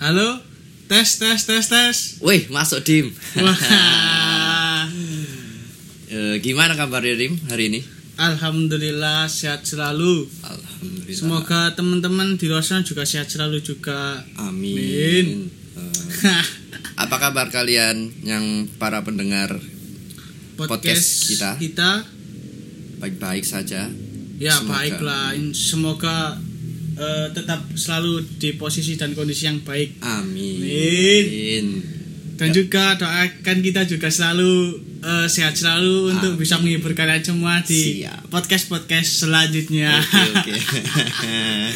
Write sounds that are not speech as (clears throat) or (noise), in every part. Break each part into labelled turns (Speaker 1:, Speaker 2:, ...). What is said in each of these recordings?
Speaker 1: Halo, tes tes tes
Speaker 2: (laughs)
Speaker 1: tes.
Speaker 2: Wih, masuk Dim.
Speaker 1: Wah.
Speaker 2: (laughs) Eh, gimana kabarnya Dim hari ini?
Speaker 1: Alhamdulillah sehat selalu.
Speaker 2: Alhamdulillah.
Speaker 1: Semoga teman-teman di luar sana juga sehat selalu
Speaker 2: (laughs)
Speaker 1: juga.
Speaker 2: Amin.
Speaker 1: Amin.
Speaker 2: Eh, apa kabar kalian yang para pendengar Podcast kita. baik-baik saja?
Speaker 1: Ya
Speaker 2: Semoga.
Speaker 1: baiklah. In- Semoga eh, tetap selalu di posisi dan kondisi yang baik.
Speaker 2: Amin.
Speaker 1: Amin. Dan
Speaker 2: Ya.
Speaker 1: juga doakan kita juga selalu eh, sehat selalu untuk bisa menghibur kalian semua di
Speaker 2: Siap.
Speaker 1: podcast podcast selanjutnya.
Speaker 2: Oke oke. Eh,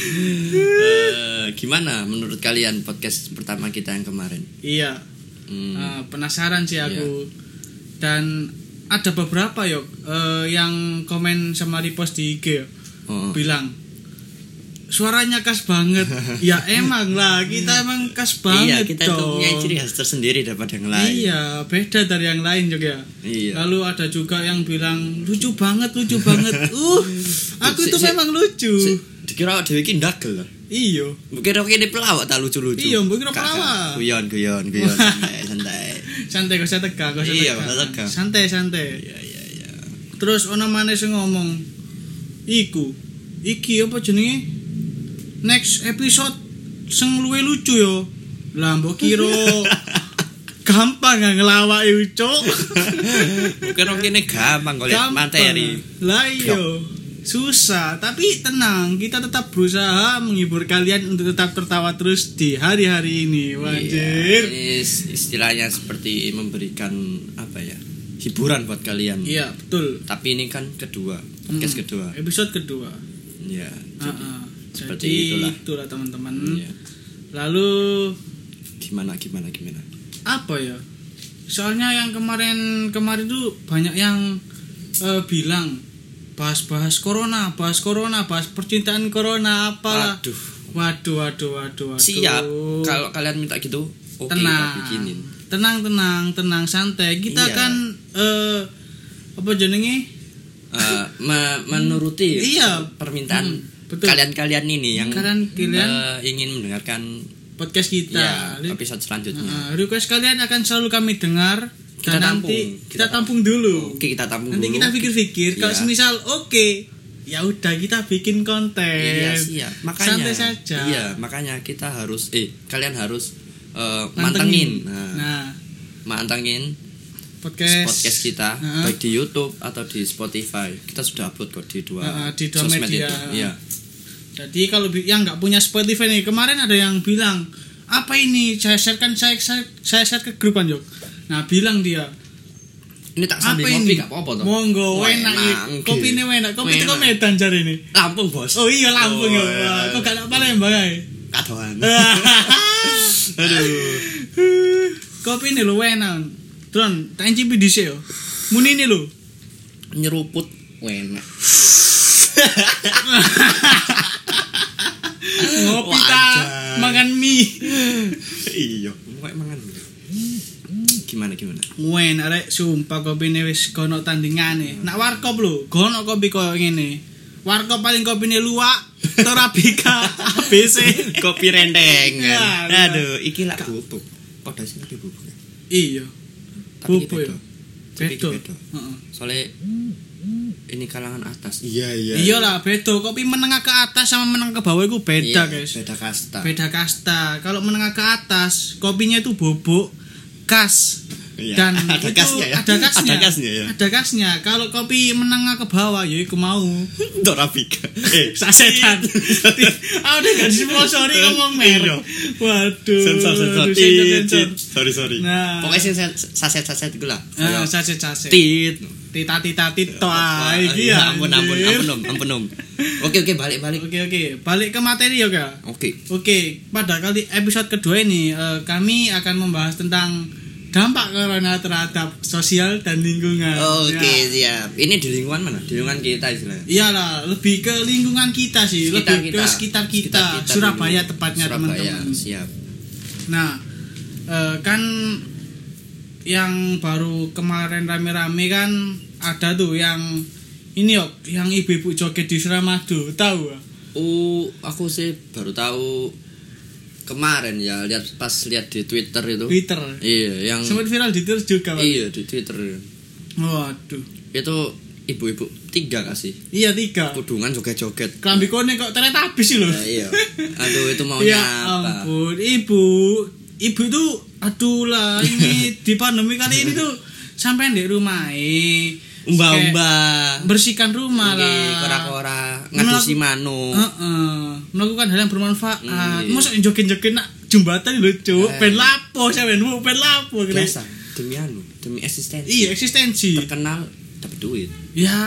Speaker 2: gimana menurut kalian podcast pertama kita yang kemarin?
Speaker 1: (laughs) iya.
Speaker 2: Hmm, Iya.
Speaker 1: Nah, penasaran sih aku. Dan ada beberapa yuk eh, yang komen sama repost di IG yuk,
Speaker 2: oh,
Speaker 1: bilang suaranya khas
Speaker 2: (laughs)
Speaker 1: banget. ya emang lah kita emang khas
Speaker 2: Iya,
Speaker 1: banget
Speaker 2: kita tuh
Speaker 1: dong.
Speaker 2: punya ciri khas tersendiri daripada yang lain.
Speaker 1: Iya, beda dari yang lain juga.
Speaker 2: Iya.
Speaker 1: Lalu ada juga yang bilang lucu banget, lucu banget.
Speaker 2: (laughs)
Speaker 1: Uh, aku
Speaker 2: Si-
Speaker 1: itu
Speaker 2: si-
Speaker 1: memang lucu.
Speaker 2: Si- Dikira dewe iki ndagel.
Speaker 1: Iyo.
Speaker 2: Mungkin aku ini pelawak tak lucu-lucu.
Speaker 1: Iya, mbok kira
Speaker 2: Kakak,
Speaker 1: pelawak.
Speaker 2: Guyon, guyon,
Speaker 1: (laughs)
Speaker 2: guyon, santai, santai.
Speaker 1: Santai gak usah tegang, gak usah
Speaker 2: Iya,
Speaker 1: tegang.
Speaker 2: gak usah tegang.
Speaker 1: Santai, santai.
Speaker 2: Iya, iya, iya.
Speaker 1: Terus ono maneh sing ngomong, "Iku, iki apa jenenge? Next episode sing luwe lucu yo." Lah mbok kira
Speaker 2: (laughs)
Speaker 1: gampang gak ngelawak yo, Cuk.
Speaker 2: Mungkin aku ini gampang kalau lihat
Speaker 1: Gampang.
Speaker 2: materi.
Speaker 1: Lah iyo. Susah, tapi tenang, kita tetap berusaha menghibur kalian untuk tetap tertawa terus di hari-hari ini,
Speaker 2: Iya,
Speaker 1: wajir.
Speaker 2: ini is- istilahnya seperti memberikan apa ya? Hiburan buat kalian.
Speaker 1: Iya, betul.
Speaker 2: Tapi ini kan kedua, podcast
Speaker 1: Hmm,
Speaker 2: kedua.
Speaker 1: Episode kedua.
Speaker 2: Iya.
Speaker 1: Ah, ah.
Speaker 2: seperti
Speaker 1: Jadi
Speaker 2: itulah.
Speaker 1: itulah teman-teman.
Speaker 2: Iya.
Speaker 1: Lalu
Speaker 2: Gimana gimana gimana?
Speaker 1: apa ya? Soalnya yang kemarin kemarin tuh banyak yang eh, bilang bahas-bahas corona, bahas corona, bahas percintaan corona apa?
Speaker 2: Aduh.
Speaker 1: Waduh, waduh, waduh, waduh.
Speaker 2: Siap. Kalau kalian minta gitu, oke kita
Speaker 1: tenang,
Speaker 2: bikinin.
Speaker 1: tenang, tenang, tenang, santai. Kita
Speaker 2: Iya.
Speaker 1: kan eh, apa jenenge?
Speaker 2: Eh, me- menuruti
Speaker 1: Iya.
Speaker 2: permintaan
Speaker 1: Hmm, betul.
Speaker 2: kalian-kalian ini yang
Speaker 1: Kalian-kalian. Nah,
Speaker 2: eh, ingin mendengarkan
Speaker 1: Podcast kita.
Speaker 2: ya,
Speaker 1: Jadi-
Speaker 2: episode selanjutnya.
Speaker 1: Nah, request kalian akan selalu kami dengar
Speaker 2: Kita
Speaker 1: dan
Speaker 2: tampung.
Speaker 1: nanti
Speaker 2: Kita
Speaker 1: kita, tampung dulu.
Speaker 2: Oke, kita tampung
Speaker 1: Nanti
Speaker 2: dulu.
Speaker 1: kita pikir-pikir kalau
Speaker 2: Iya.
Speaker 1: semisal oke, ya udah kita bikin konten.
Speaker 2: Iya, siap. Makanya
Speaker 1: Santai saja.
Speaker 2: Iya, makanya kita harus eh kalian harus eh,
Speaker 1: Mantengin.
Speaker 2: mantengin. Nah,
Speaker 1: Nah,
Speaker 2: mantengin
Speaker 1: podcast Nah,
Speaker 2: podcast kita
Speaker 1: Heeh.
Speaker 2: baik di YouTube atau di Spotify. Kita sudah upload kok di dua
Speaker 1: Heeh, di dua
Speaker 2: sosmed
Speaker 1: media.
Speaker 2: itu. Iya.
Speaker 1: Jadi kalau bi- yang nggak punya Spotify nih, kemarin ada yang bilang, "Apa ini? Saya share kan saya saya, saya share ke grup Anjok." Nah, bilang dia,
Speaker 2: Ini tak
Speaker 1: "Apa
Speaker 2: sambil
Speaker 1: ini?"
Speaker 2: ngopi gak apa-apa toh.
Speaker 1: Monggo,
Speaker 2: Wah,
Speaker 1: enak, ya.
Speaker 2: enak,
Speaker 1: Kopi ini
Speaker 2: nggih.
Speaker 1: enak. Kopi itu
Speaker 2: Enak.
Speaker 1: Medan cari ini.
Speaker 2: Lampung, Bos.
Speaker 1: Oh iya Lampung ya. Wah, Kok gak nak Palembang ae.
Speaker 2: kadoan. (laughs) Aduh.
Speaker 1: (laughs) Kopi ini lu enak. Dron, tak encipi dhisik yo. Muni ini lho.
Speaker 2: nyeruput enak
Speaker 1: Ngopi
Speaker 2: Wah,
Speaker 1: ta,
Speaker 2: anjay.
Speaker 1: makan mie.
Speaker 2: iya kayak mangan gimana (laughs) gimana
Speaker 1: Wen arek sumpah kopi ini wis gono tandingane. Nak warkop lho, gono kopi koyo ngene. Warkop paling kopi ini luwak, Torabika (laughs) ABC.
Speaker 2: kopi rendeng
Speaker 1: Ya, bener.
Speaker 2: aduh iki lak bubuk kok sih lagi bubuk
Speaker 1: Iya,
Speaker 2: tapi iki
Speaker 1: Bubuk ya?
Speaker 2: beda Tapi iki
Speaker 1: beto.
Speaker 2: beda soalnya ini kalangan atas
Speaker 3: Iya iya.
Speaker 2: ya.
Speaker 1: Iya lah, beto. Kopi menengah ke atas sama menengah ke bawah itu beda,
Speaker 2: Iya,
Speaker 1: guys.
Speaker 3: Beda kasta.
Speaker 1: beda kasta kalau menengah ke atas kopinya itu bubuk khas
Speaker 3: Iya,
Speaker 1: dan
Speaker 3: (laughs) ada
Speaker 1: itu
Speaker 3: khasnya ya.
Speaker 1: ada khasnya
Speaker 3: Ada khasnya ya.
Speaker 1: Ada khasnya. kalau kopi menengah ke bawah ya iku mau
Speaker 2: (laughs)
Speaker 3: Dorabika. Eh, (laughs)
Speaker 1: sasetan ah udah gak disponsori ngomong merek waduh
Speaker 3: Iya. sensor sensor.
Speaker 1: Aduh,
Speaker 3: Tit,
Speaker 1: sensor
Speaker 3: tit. Sorry sorry.
Speaker 1: nah
Speaker 2: pokoknya sih saset saset gue lah
Speaker 1: nah,
Speaker 2: Kayak
Speaker 1: saset saset
Speaker 2: tit
Speaker 1: tita tita tito ah
Speaker 2: Wah,
Speaker 1: iki
Speaker 2: iya,
Speaker 1: ya
Speaker 2: ampun ampun
Speaker 1: anjir.
Speaker 2: ampun om ampun om oke oke balik balik
Speaker 1: oke oke balik ke materi ya kak
Speaker 2: oke
Speaker 1: Oke, pada kali episode kedua ini eh, kami akan membahas tentang dampak corona terhadap sosial dan lingkungan.
Speaker 2: oke
Speaker 1: Ya.
Speaker 2: siap ini di lingkungan mana di lingkungan kita istilahnya
Speaker 1: Iyalah, lebih ke lingkungan kita sih,
Speaker 2: Sekitar
Speaker 1: lebih ke sekitar kita,
Speaker 2: dulu.
Speaker 1: Surabaya tepatnya
Speaker 2: Surabaya,
Speaker 1: teman-teman.
Speaker 2: siap
Speaker 1: Nah, eh, kan yang baru kemarin rame-rame kan ada tuh yang ini yuk, yang ibu-ibu
Speaker 2: Uh,
Speaker 1: joget di Suramadu, tahu? nggak?
Speaker 2: oh aku sih baru tahu kemarin ya lihat pas lihat di Twitter itu.
Speaker 1: Twitter.
Speaker 2: Iya, yang
Speaker 1: Sempat viral di Twitter juga, Pak.
Speaker 2: iya di Twitter
Speaker 1: Waduh.
Speaker 2: itu ibu-ibu tiga gak sih
Speaker 1: Iya, tiga.
Speaker 2: kudungan joget-joget.
Speaker 1: Kelambi kone kok ternyata habis sih lho.
Speaker 2: Ya, iya. Aduh itu maunya
Speaker 1: ya
Speaker 2: apa?
Speaker 1: ampun, ibu. Ibu itu aduh lah
Speaker 2: (laughs)
Speaker 1: ini di pandemi kali ini tuh sampai di rumah eh.
Speaker 2: Umba-umba.
Speaker 1: Kayak Bersihkan rumah
Speaker 2: Iki,
Speaker 1: lah.
Speaker 2: Kora-kora ngadusi
Speaker 1: Melak-
Speaker 2: mano.
Speaker 1: Ah, Heeh. Melakukan hal yang
Speaker 2: Hmm,
Speaker 1: bermanfaat.
Speaker 2: iya.
Speaker 1: Mosok jokin-jokin nak jembatan lho, Cuk.
Speaker 2: Eh.
Speaker 1: Ben lapo sampean, Bu, ben lapo kira.
Speaker 2: Biasa demi anu, demi eksistensi.
Speaker 1: Iya, eksistensi.
Speaker 2: Terkenal dapat duit.
Speaker 1: Ya,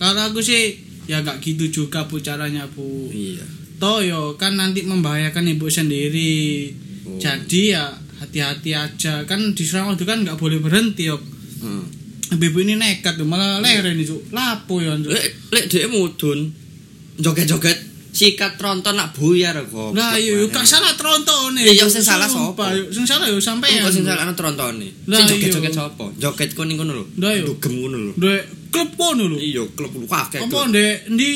Speaker 1: kalau aku sih ya gak gitu juga Bu caranya, Bu.
Speaker 2: Iya.
Speaker 1: Toyo kan nanti membahayakan ibu sendiri.
Speaker 2: Oh.
Speaker 1: Jadi ya hati-hati aja. Kan di Surabaya itu kan nggak boleh berhenti yuk.
Speaker 2: Heeh.
Speaker 1: Ibu ini nekat tuh malah leren itu. Lapo ya. Cuk.
Speaker 2: Lek lek dhek mudun joget-joget sikat tronton nak buyar kok.
Speaker 1: Lah iya yuk gak salah trontone.
Speaker 2: Iya, sing salah
Speaker 1: Sumpah,
Speaker 2: sapa?
Speaker 1: yuk. Sing salah ya, yo sampean.
Speaker 2: Kok sing salah trontone.
Speaker 1: Lah,
Speaker 2: Sing joget-joget
Speaker 1: iya.
Speaker 2: sapa? Joget kuning ngono lho.
Speaker 1: Lah, iya.
Speaker 2: Dugem ngono lho.
Speaker 1: Dek klub kono lho.
Speaker 2: Iya, klub lu kakek.
Speaker 1: Apa ndek ndi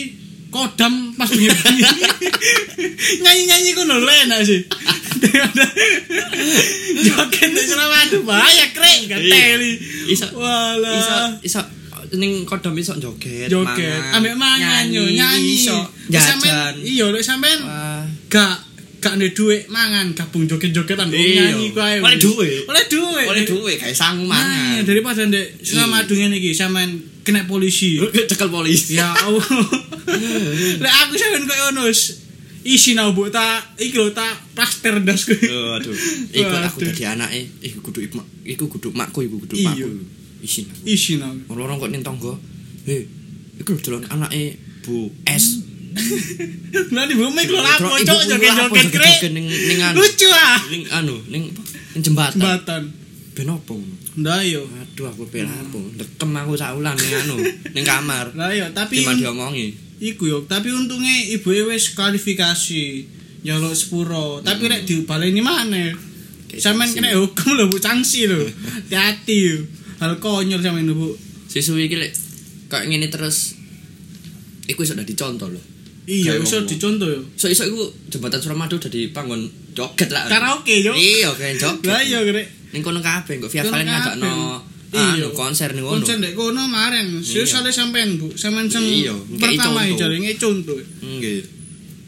Speaker 1: kodam pas bunyi (laughs) nyanyi-nyanyi kono lho enak sih. Joget di Surabaya tuh bahaya krek gak
Speaker 2: Iya.
Speaker 1: teli.
Speaker 2: Iso
Speaker 1: Walah.
Speaker 2: iso iso ning kodom iso joget.
Speaker 1: Eh. joget ambek mangan yo nyanyi
Speaker 2: iso
Speaker 1: Lek sampean-
Speaker 2: jajan.
Speaker 1: iya lek sampean
Speaker 2: Wah.
Speaker 1: gak gak ndek dhuwit mangan gabung joget-jogetan kok
Speaker 2: Iya.
Speaker 1: nyanyi ku ae
Speaker 2: Oleh dhuwit.
Speaker 1: oleh dhuwit
Speaker 2: Oleh duwe kae sangu
Speaker 1: Nah,
Speaker 2: mangan.
Speaker 1: daripada ndek sama
Speaker 2: Iya.
Speaker 1: dungen iki sampean kena polisi
Speaker 2: Cekel polisi. (laughs)
Speaker 1: ya Allah lek aku sampean koyo ngono wis isi nang mbok tak iki lho tak plaster ndas kowe
Speaker 3: Oh,
Speaker 2: Iya.
Speaker 3: aduh.
Speaker 2: Iku aku
Speaker 1: Waduh.
Speaker 2: dadi anake, iku kudu iku iku kudu makku, iku kudu
Speaker 1: Iya.
Speaker 2: pakku. Isin.
Speaker 1: isi nang
Speaker 2: Orang kok ning tangga. He, iku lho delon anake Bu S.
Speaker 1: lha di bumi lho
Speaker 2: Delok-
Speaker 1: lapo
Speaker 2: ibu-
Speaker 1: cok
Speaker 2: ibu lapo,
Speaker 1: joget-joget krek
Speaker 2: Iya, joget-joget ning ning anu.
Speaker 1: lucu ah
Speaker 2: Ning anu, ning ning jembatan.
Speaker 1: jembatan iya.
Speaker 2: Ben opo ngono?
Speaker 1: ndak yo
Speaker 2: Aduh aku pelapo, dekem aku saulan ning anu, ning kamar.
Speaker 1: Lah iya, tapi
Speaker 2: Cuma diomongi.
Speaker 1: iku yo, tapi untungnya ibu wis kualifikasi nyolok sepuro. Tapi
Speaker 2: Hmm.
Speaker 1: rek dibaleni maneh.
Speaker 2: Kayak
Speaker 1: Sampeyan
Speaker 2: sanksi.
Speaker 1: kena hukum lho Bu Cangsi lho. Hati-hati yo. Hal konyol sampeyan Bu.
Speaker 2: Sisu iki lek kayak ngene terus iku iso dadi contoh lho.
Speaker 1: Iya,
Speaker 2: Kayak
Speaker 1: iso
Speaker 2: ngomong.
Speaker 1: dicontoh yo.
Speaker 2: So iso iku jembatan Suramadu dadi panggon joget lah.
Speaker 1: Karaoke yo.
Speaker 2: Iya, kayak joget.
Speaker 1: (laughs) Lah iya kene.
Speaker 2: Ning kono kabeh kok Via Valen ngajak no
Speaker 1: Iya.
Speaker 2: anu konser ning ngono.
Speaker 1: Konser ndek kono maren. Serius
Speaker 2: Iya.
Speaker 1: sale sampean Bu. Sampeyan sing
Speaker 2: Iya, kayak
Speaker 1: pertama
Speaker 2: contoh.
Speaker 1: jarene contoh.
Speaker 2: Hmm, Nggih.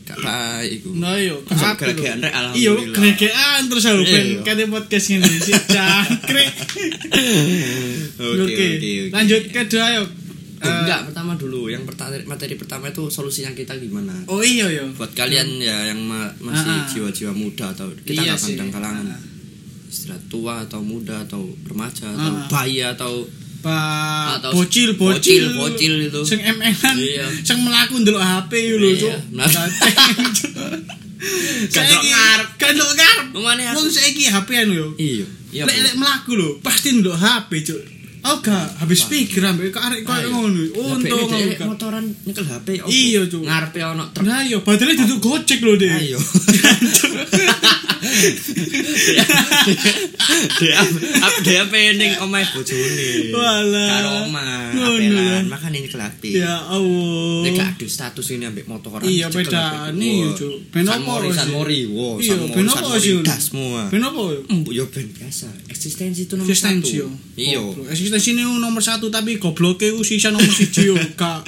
Speaker 2: Gak baik iku.
Speaker 1: Nah yo,
Speaker 2: Masa
Speaker 1: kabeh lho.
Speaker 2: gelegean rek,
Speaker 1: Iya,
Speaker 2: alhamdulillah.
Speaker 1: gregekan terus aku
Speaker 2: Iya,
Speaker 1: ben
Speaker 2: iya.
Speaker 1: kate podcast ngene sih
Speaker 2: (laughs)
Speaker 1: jangkrik. Oke, lanjut ke dua yuk.
Speaker 2: Oh, enggak, pertama dulu. Yang pertama materi pertama itu solusinya kita gimana?
Speaker 1: Eh, oh iya yo.
Speaker 2: Buat kalian ya yang ma- masih
Speaker 1: Ah.
Speaker 2: jiwa-jiwa muda atau kita
Speaker 1: Iya
Speaker 2: nggak
Speaker 1: sih.
Speaker 2: pandang kalangan
Speaker 1: Ah.
Speaker 2: istilah tua atau muda atau remaja atau
Speaker 1: Ah.
Speaker 2: bayi atau
Speaker 1: Pak
Speaker 2: Atau
Speaker 1: bocil
Speaker 2: bocil,
Speaker 1: bocil
Speaker 2: bocil itu.
Speaker 1: Sing MN-an.
Speaker 2: Iya.
Speaker 1: Sing melaku ndelok HP yo lho,
Speaker 2: Iya,
Speaker 1: Cuk.
Speaker 2: benar. (laughs) Gandrok ngarep.
Speaker 1: Gandrok ngarep.
Speaker 2: Lumane aku-
Speaker 1: Wong saiki HP anu yo.
Speaker 2: Iya, iya.
Speaker 1: Lek
Speaker 2: Bu.
Speaker 1: lek melaku lho, pasti ndelok HP, Cuk. Oh gak, habis pikir ambek kok arek koyo
Speaker 2: Ayo.
Speaker 1: ngono. Oh,
Speaker 2: Lah,
Speaker 1: Untung
Speaker 2: PNDE
Speaker 1: aku gak.
Speaker 2: motoran nyekel HP opo?
Speaker 1: Iya, Cuk. Iya.
Speaker 2: Ngarepe ono truk.
Speaker 1: Nah yo, baterai duduk gocek lho, Dek. (laughs)
Speaker 2: Ayo. Dia aku dia pening omae bojone.
Speaker 1: Walah.
Speaker 2: Karo omah,
Speaker 1: Ngono
Speaker 2: apelan,
Speaker 1: ya.
Speaker 2: makane nyekel HP.
Speaker 1: Ya Allah.
Speaker 2: Nek gak ada status ini ambek motoran.
Speaker 1: Iya
Speaker 2: dicekel
Speaker 1: beda
Speaker 2: HP.
Speaker 1: nih
Speaker 2: Wah.
Speaker 1: Cuk.
Speaker 2: San Mori, San
Speaker 1: sih?
Speaker 2: Mori, wow,
Speaker 1: Iya,
Speaker 2: San Mori,
Speaker 1: ben
Speaker 2: San
Speaker 1: apa
Speaker 2: Mori,
Speaker 1: sih?
Speaker 2: das semua.
Speaker 1: Ben apa?
Speaker 2: Mm, yo ben biasa. Eksistensi itu nomor
Speaker 1: Eksistensi
Speaker 2: Mm. satu.
Speaker 1: yo. Oh,
Speaker 2: Iya.
Speaker 1: Goblok. Eksistensi ini nomor satu tapi gobloknya ku sisa nomor
Speaker 2: (laughs)
Speaker 1: siji yo kak.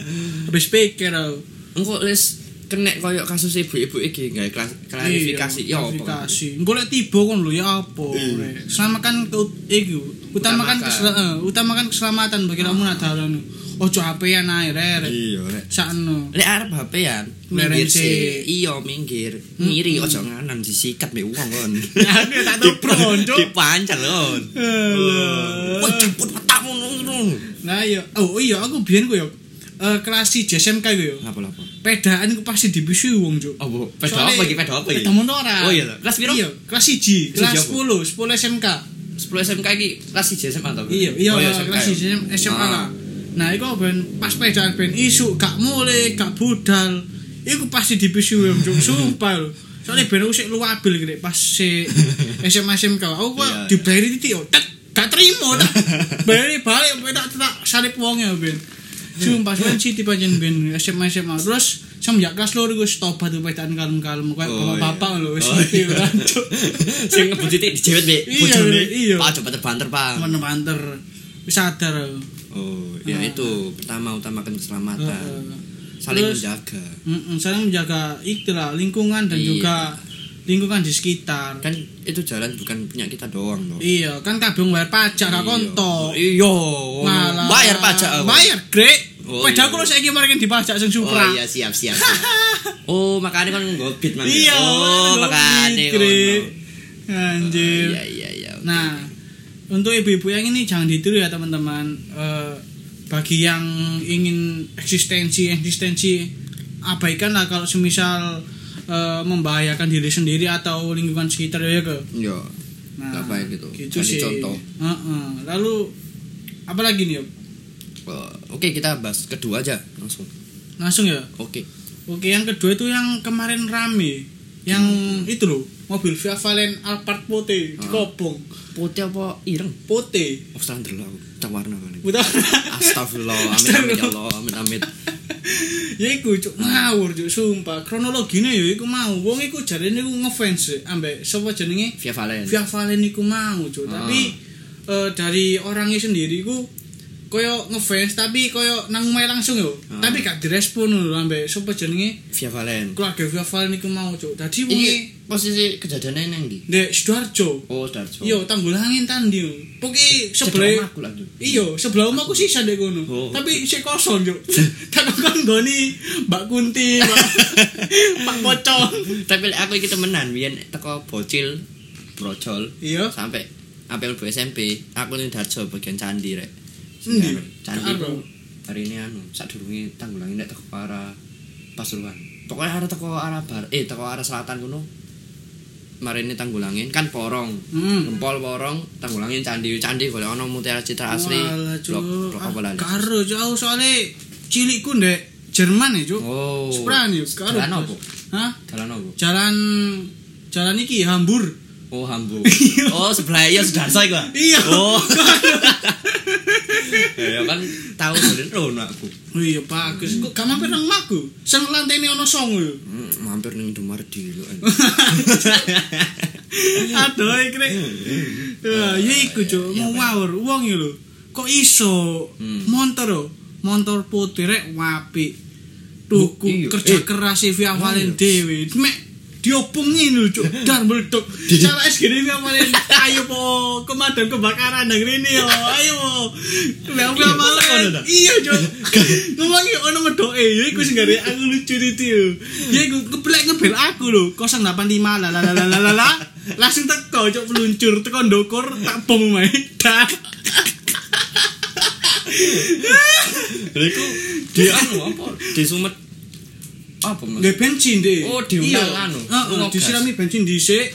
Speaker 1: Habis pikir eh. aku.
Speaker 2: Engko les kena koyo kasus ibu-ibu iki gawe kla- klarifikasi
Speaker 1: Iya,
Speaker 2: ya opo.
Speaker 1: Klarifikasi. Engko lek tiba kon lho ya apa. rek. Selamatkan ke iku. Utamakan
Speaker 2: Utamakan. Ah.
Speaker 1: kesel- eh, utamakan keselamatan bagi kamu nadalan. Ojo HP-an ae rek.
Speaker 2: Iya, Rek.
Speaker 1: Sakno.
Speaker 2: Lek arep HP-an,
Speaker 1: Leren
Speaker 2: minggir
Speaker 1: sih.
Speaker 2: sih. Iya, minggir. Ngiri ojo nganan disikat mek wong
Speaker 1: (laughs)
Speaker 2: kon.
Speaker 1: Aku tak tobron, Cuk.
Speaker 2: Dipancal kon.
Speaker 1: Alah.
Speaker 2: Wah, jemput matamu ngono.
Speaker 1: Nah iya, oh iya aku biyen ku yo eh, kelas 1 SMK ku yo.
Speaker 2: Lapo-lapo.
Speaker 1: Pedaan ku pasti dibisui wong, Cuk.
Speaker 2: Apa? Peda
Speaker 1: Soale-
Speaker 2: apa iki? Peda apa iki?
Speaker 1: Peda motoran.
Speaker 2: Oh iya, kelas piro?
Speaker 1: Iya, kelas 1,
Speaker 2: Siji
Speaker 1: kelas
Speaker 2: apa?
Speaker 1: 10, 10 SMK.
Speaker 2: 10 SMK iki kelas 1 SMA to.
Speaker 1: Iya, iya
Speaker 2: Oh,
Speaker 1: kelas
Speaker 2: ya.
Speaker 1: 1 SMK lah.
Speaker 2: Ah.
Speaker 1: Nah, iku ben pas pedaan ben isu gak mule, gak budal. Iku pasti dibisui wong,
Speaker 2: (laughs)
Speaker 1: Cuk. Sumpah lho. Soale ben aku sik luabil gini pas
Speaker 2: (laughs)
Speaker 1: si SMA SMK. Aku kok
Speaker 2: Iya, iya. (laughs)
Speaker 1: dibayari titik yo. Tet, Gak terima tak. Bayari balik tak tak salip wong ya ben. Sumpah suwen sih tipe jen ben SMA SMA. Terus semenjak kelas loro gue tobat tuh petan kalem-kalem kayak bapak
Speaker 2: Oh, iya.
Speaker 1: bapak lho wis (laughs)
Speaker 2: Oh,
Speaker 1: ngerti
Speaker 2: iya.
Speaker 1: kan. Cuk.
Speaker 2: Sing ngebutite dijewet Mbak
Speaker 1: Iya,
Speaker 2: bojone.
Speaker 1: iya.
Speaker 2: Pak coba terbanter, Pak.
Speaker 1: Temen banter. Wis sadar aku.
Speaker 2: Oh, ya
Speaker 1: Ah.
Speaker 2: itu pertama utamakan keselamatan.
Speaker 1: Heeh.
Speaker 2: Saling
Speaker 1: Terus-
Speaker 2: menjaga.
Speaker 1: Mm-mm, saling menjaga itulah lingkungan dan
Speaker 2: Iya.
Speaker 1: juga lingkungan di sekitar.
Speaker 2: Kan itu jalan bukan punya kita doang loh.
Speaker 1: Iya, kan kabeh bayar pajak gak konto.
Speaker 2: Iya,
Speaker 1: Malah
Speaker 2: bayar pajak aku.
Speaker 1: Bayar, Grek.
Speaker 2: Oh,
Speaker 1: Oh, Pedaku
Speaker 2: iya.
Speaker 1: lu saiki marekin dipajak sing Supra.
Speaker 2: Oh iya, siap,
Speaker 1: (laughs)
Speaker 2: siap. siap. oh, makanya kan ngobit man.
Speaker 1: Iya,
Speaker 2: oh,
Speaker 1: ngono,
Speaker 2: makanya ngono.
Speaker 1: Grek.
Speaker 2: Oh,
Speaker 1: Anjir.
Speaker 2: Iya, iya, iya. oke.
Speaker 1: Nah, untuk ibu-ibu yang ini jangan ditiru ya teman-teman. Eh, bagi yang ingin eksistensi eksistensi abaikanlah kalau semisal eh, membahayakan diri sendiri atau lingkungan sekitar ya ke.
Speaker 2: Iya. Nggak baik gitu. Jadi
Speaker 1: Nah, sih.
Speaker 2: contoh.
Speaker 1: Heeh. Lalu apa lagi nih? Yop?
Speaker 2: Eh, Oke, kita bahas kedua aja langsung.
Speaker 1: Langsung ya.
Speaker 2: Oke.
Speaker 1: Oke, yang kedua itu yang kemarin rame. Yang itu loh, mobil Via Valen Alphard Pote dikopong.
Speaker 2: Putih apa ireng?
Speaker 1: Pote.
Speaker 2: Oh, standar lah. Tak warna kan.
Speaker 1: Buta. (laughs)
Speaker 2: Astagfirullah, amin amin ya Allah, amin amin.
Speaker 1: ya iku cuk ngawur cuk sumpah kronologine ya iku mau wong iku jarene iku ngefans ya, ambek sapa jenenge
Speaker 2: Via Valen.
Speaker 1: Via Valen iku mau cuk
Speaker 2: Ah.
Speaker 1: tapi eh, dari orangnya sendiri iku koyo ngefans tapi koyo nang omahe langsung yo
Speaker 2: Ah.
Speaker 1: tapi gak direspon lho ambek sapa jenenge
Speaker 2: Via Valen.
Speaker 1: keluarga Via Valen iku mau cuk dadi wong
Speaker 2: Ini posisi kejadiannya nang di.
Speaker 1: Dek Sidoarjo
Speaker 2: Oh, Darjo.
Speaker 1: Yo tanggul angin tandi. Pokoke sebelah
Speaker 2: aku lagi.
Speaker 1: Iya, sebelah omahku sisa dek kono.
Speaker 2: Oh.
Speaker 1: Tapi isih kosong, Cuk. (laughs) Tak kon goni Mbak Kunti, Mbak (laughs)
Speaker 2: (laughs)
Speaker 1: Pak Pocong.
Speaker 2: Tapi lek aku iki temenan biyen teko bocil brojol
Speaker 1: Iya.
Speaker 2: sampai sampai mlebu SMP. Aku ning Darjo bagian candi rek.
Speaker 1: Endi?
Speaker 2: Candi
Speaker 1: Karo.
Speaker 2: ku hari ini anu sadurunge tanggulangi nek teko para Pasuruan. Pokoknya arah teko arah bar eh teko arah selatan kuno. Mari ini tanggulangin kan porong.
Speaker 1: Hmm.
Speaker 2: Gempol porong tanggulangin candi candi golek ono mutiara citra asli.
Speaker 1: Walah, Cuk. Ah,
Speaker 2: Blok blok apa lali?
Speaker 1: Karo jauh soalnya cilikku ndek Jerman ya, Cuk.
Speaker 2: Oh.
Speaker 1: Sepran ya, karo.
Speaker 2: Jalan apa?
Speaker 1: Hah?
Speaker 2: Jalan apa?
Speaker 1: Jalan jalan iki Hambur.
Speaker 2: Oh
Speaker 1: (laughs)
Speaker 2: Hamburg. oh sebelah iya Sudarso iku. ah?
Speaker 1: Iya. (laughs)
Speaker 2: Oh. (laughs) ya ya kan tahu bener rono aku.
Speaker 1: Oh iya, Pak. Gus. Kok gak mampir nang maku? Sing lantene ono song yo.
Speaker 2: Hmm, mampir ning Dumardi lho.
Speaker 1: (laughs) Aduh, ikre. Ya, ya iku cuk, mau ngawur wong iki lho. Kok iso
Speaker 2: Hmm.
Speaker 1: montor yo? Montor putih rek wapi. Tuku
Speaker 2: Iya,
Speaker 1: kerja
Speaker 2: eh.
Speaker 1: keras e Via Valen dhewe. Mek diopengin lho cuk, dar
Speaker 2: (laughs)
Speaker 1: meledak. Salah es gini Via Valen. Ayo po kemadam kebakaran nang rene yo. Ayo. Via Via
Speaker 2: kono
Speaker 1: Valen.
Speaker 2: ta?
Speaker 1: Iya cuk. Ngomong yo ono medoke ya iku sing gare aku lucu itu yo. Ya iku keblek ngebel aku lho 085 la la la la la la la. Langsung teko cuk meluncur teko ndokur tak bom omahe. Dah.
Speaker 2: Lha iku di anu apa? Di Sumet. Apa Mas?
Speaker 1: Nggih bensin deh.
Speaker 2: Oh, diundang
Speaker 1: Iya.
Speaker 2: anu,
Speaker 1: Heeh,
Speaker 2: lunga gas.
Speaker 1: disirami bensin dhisik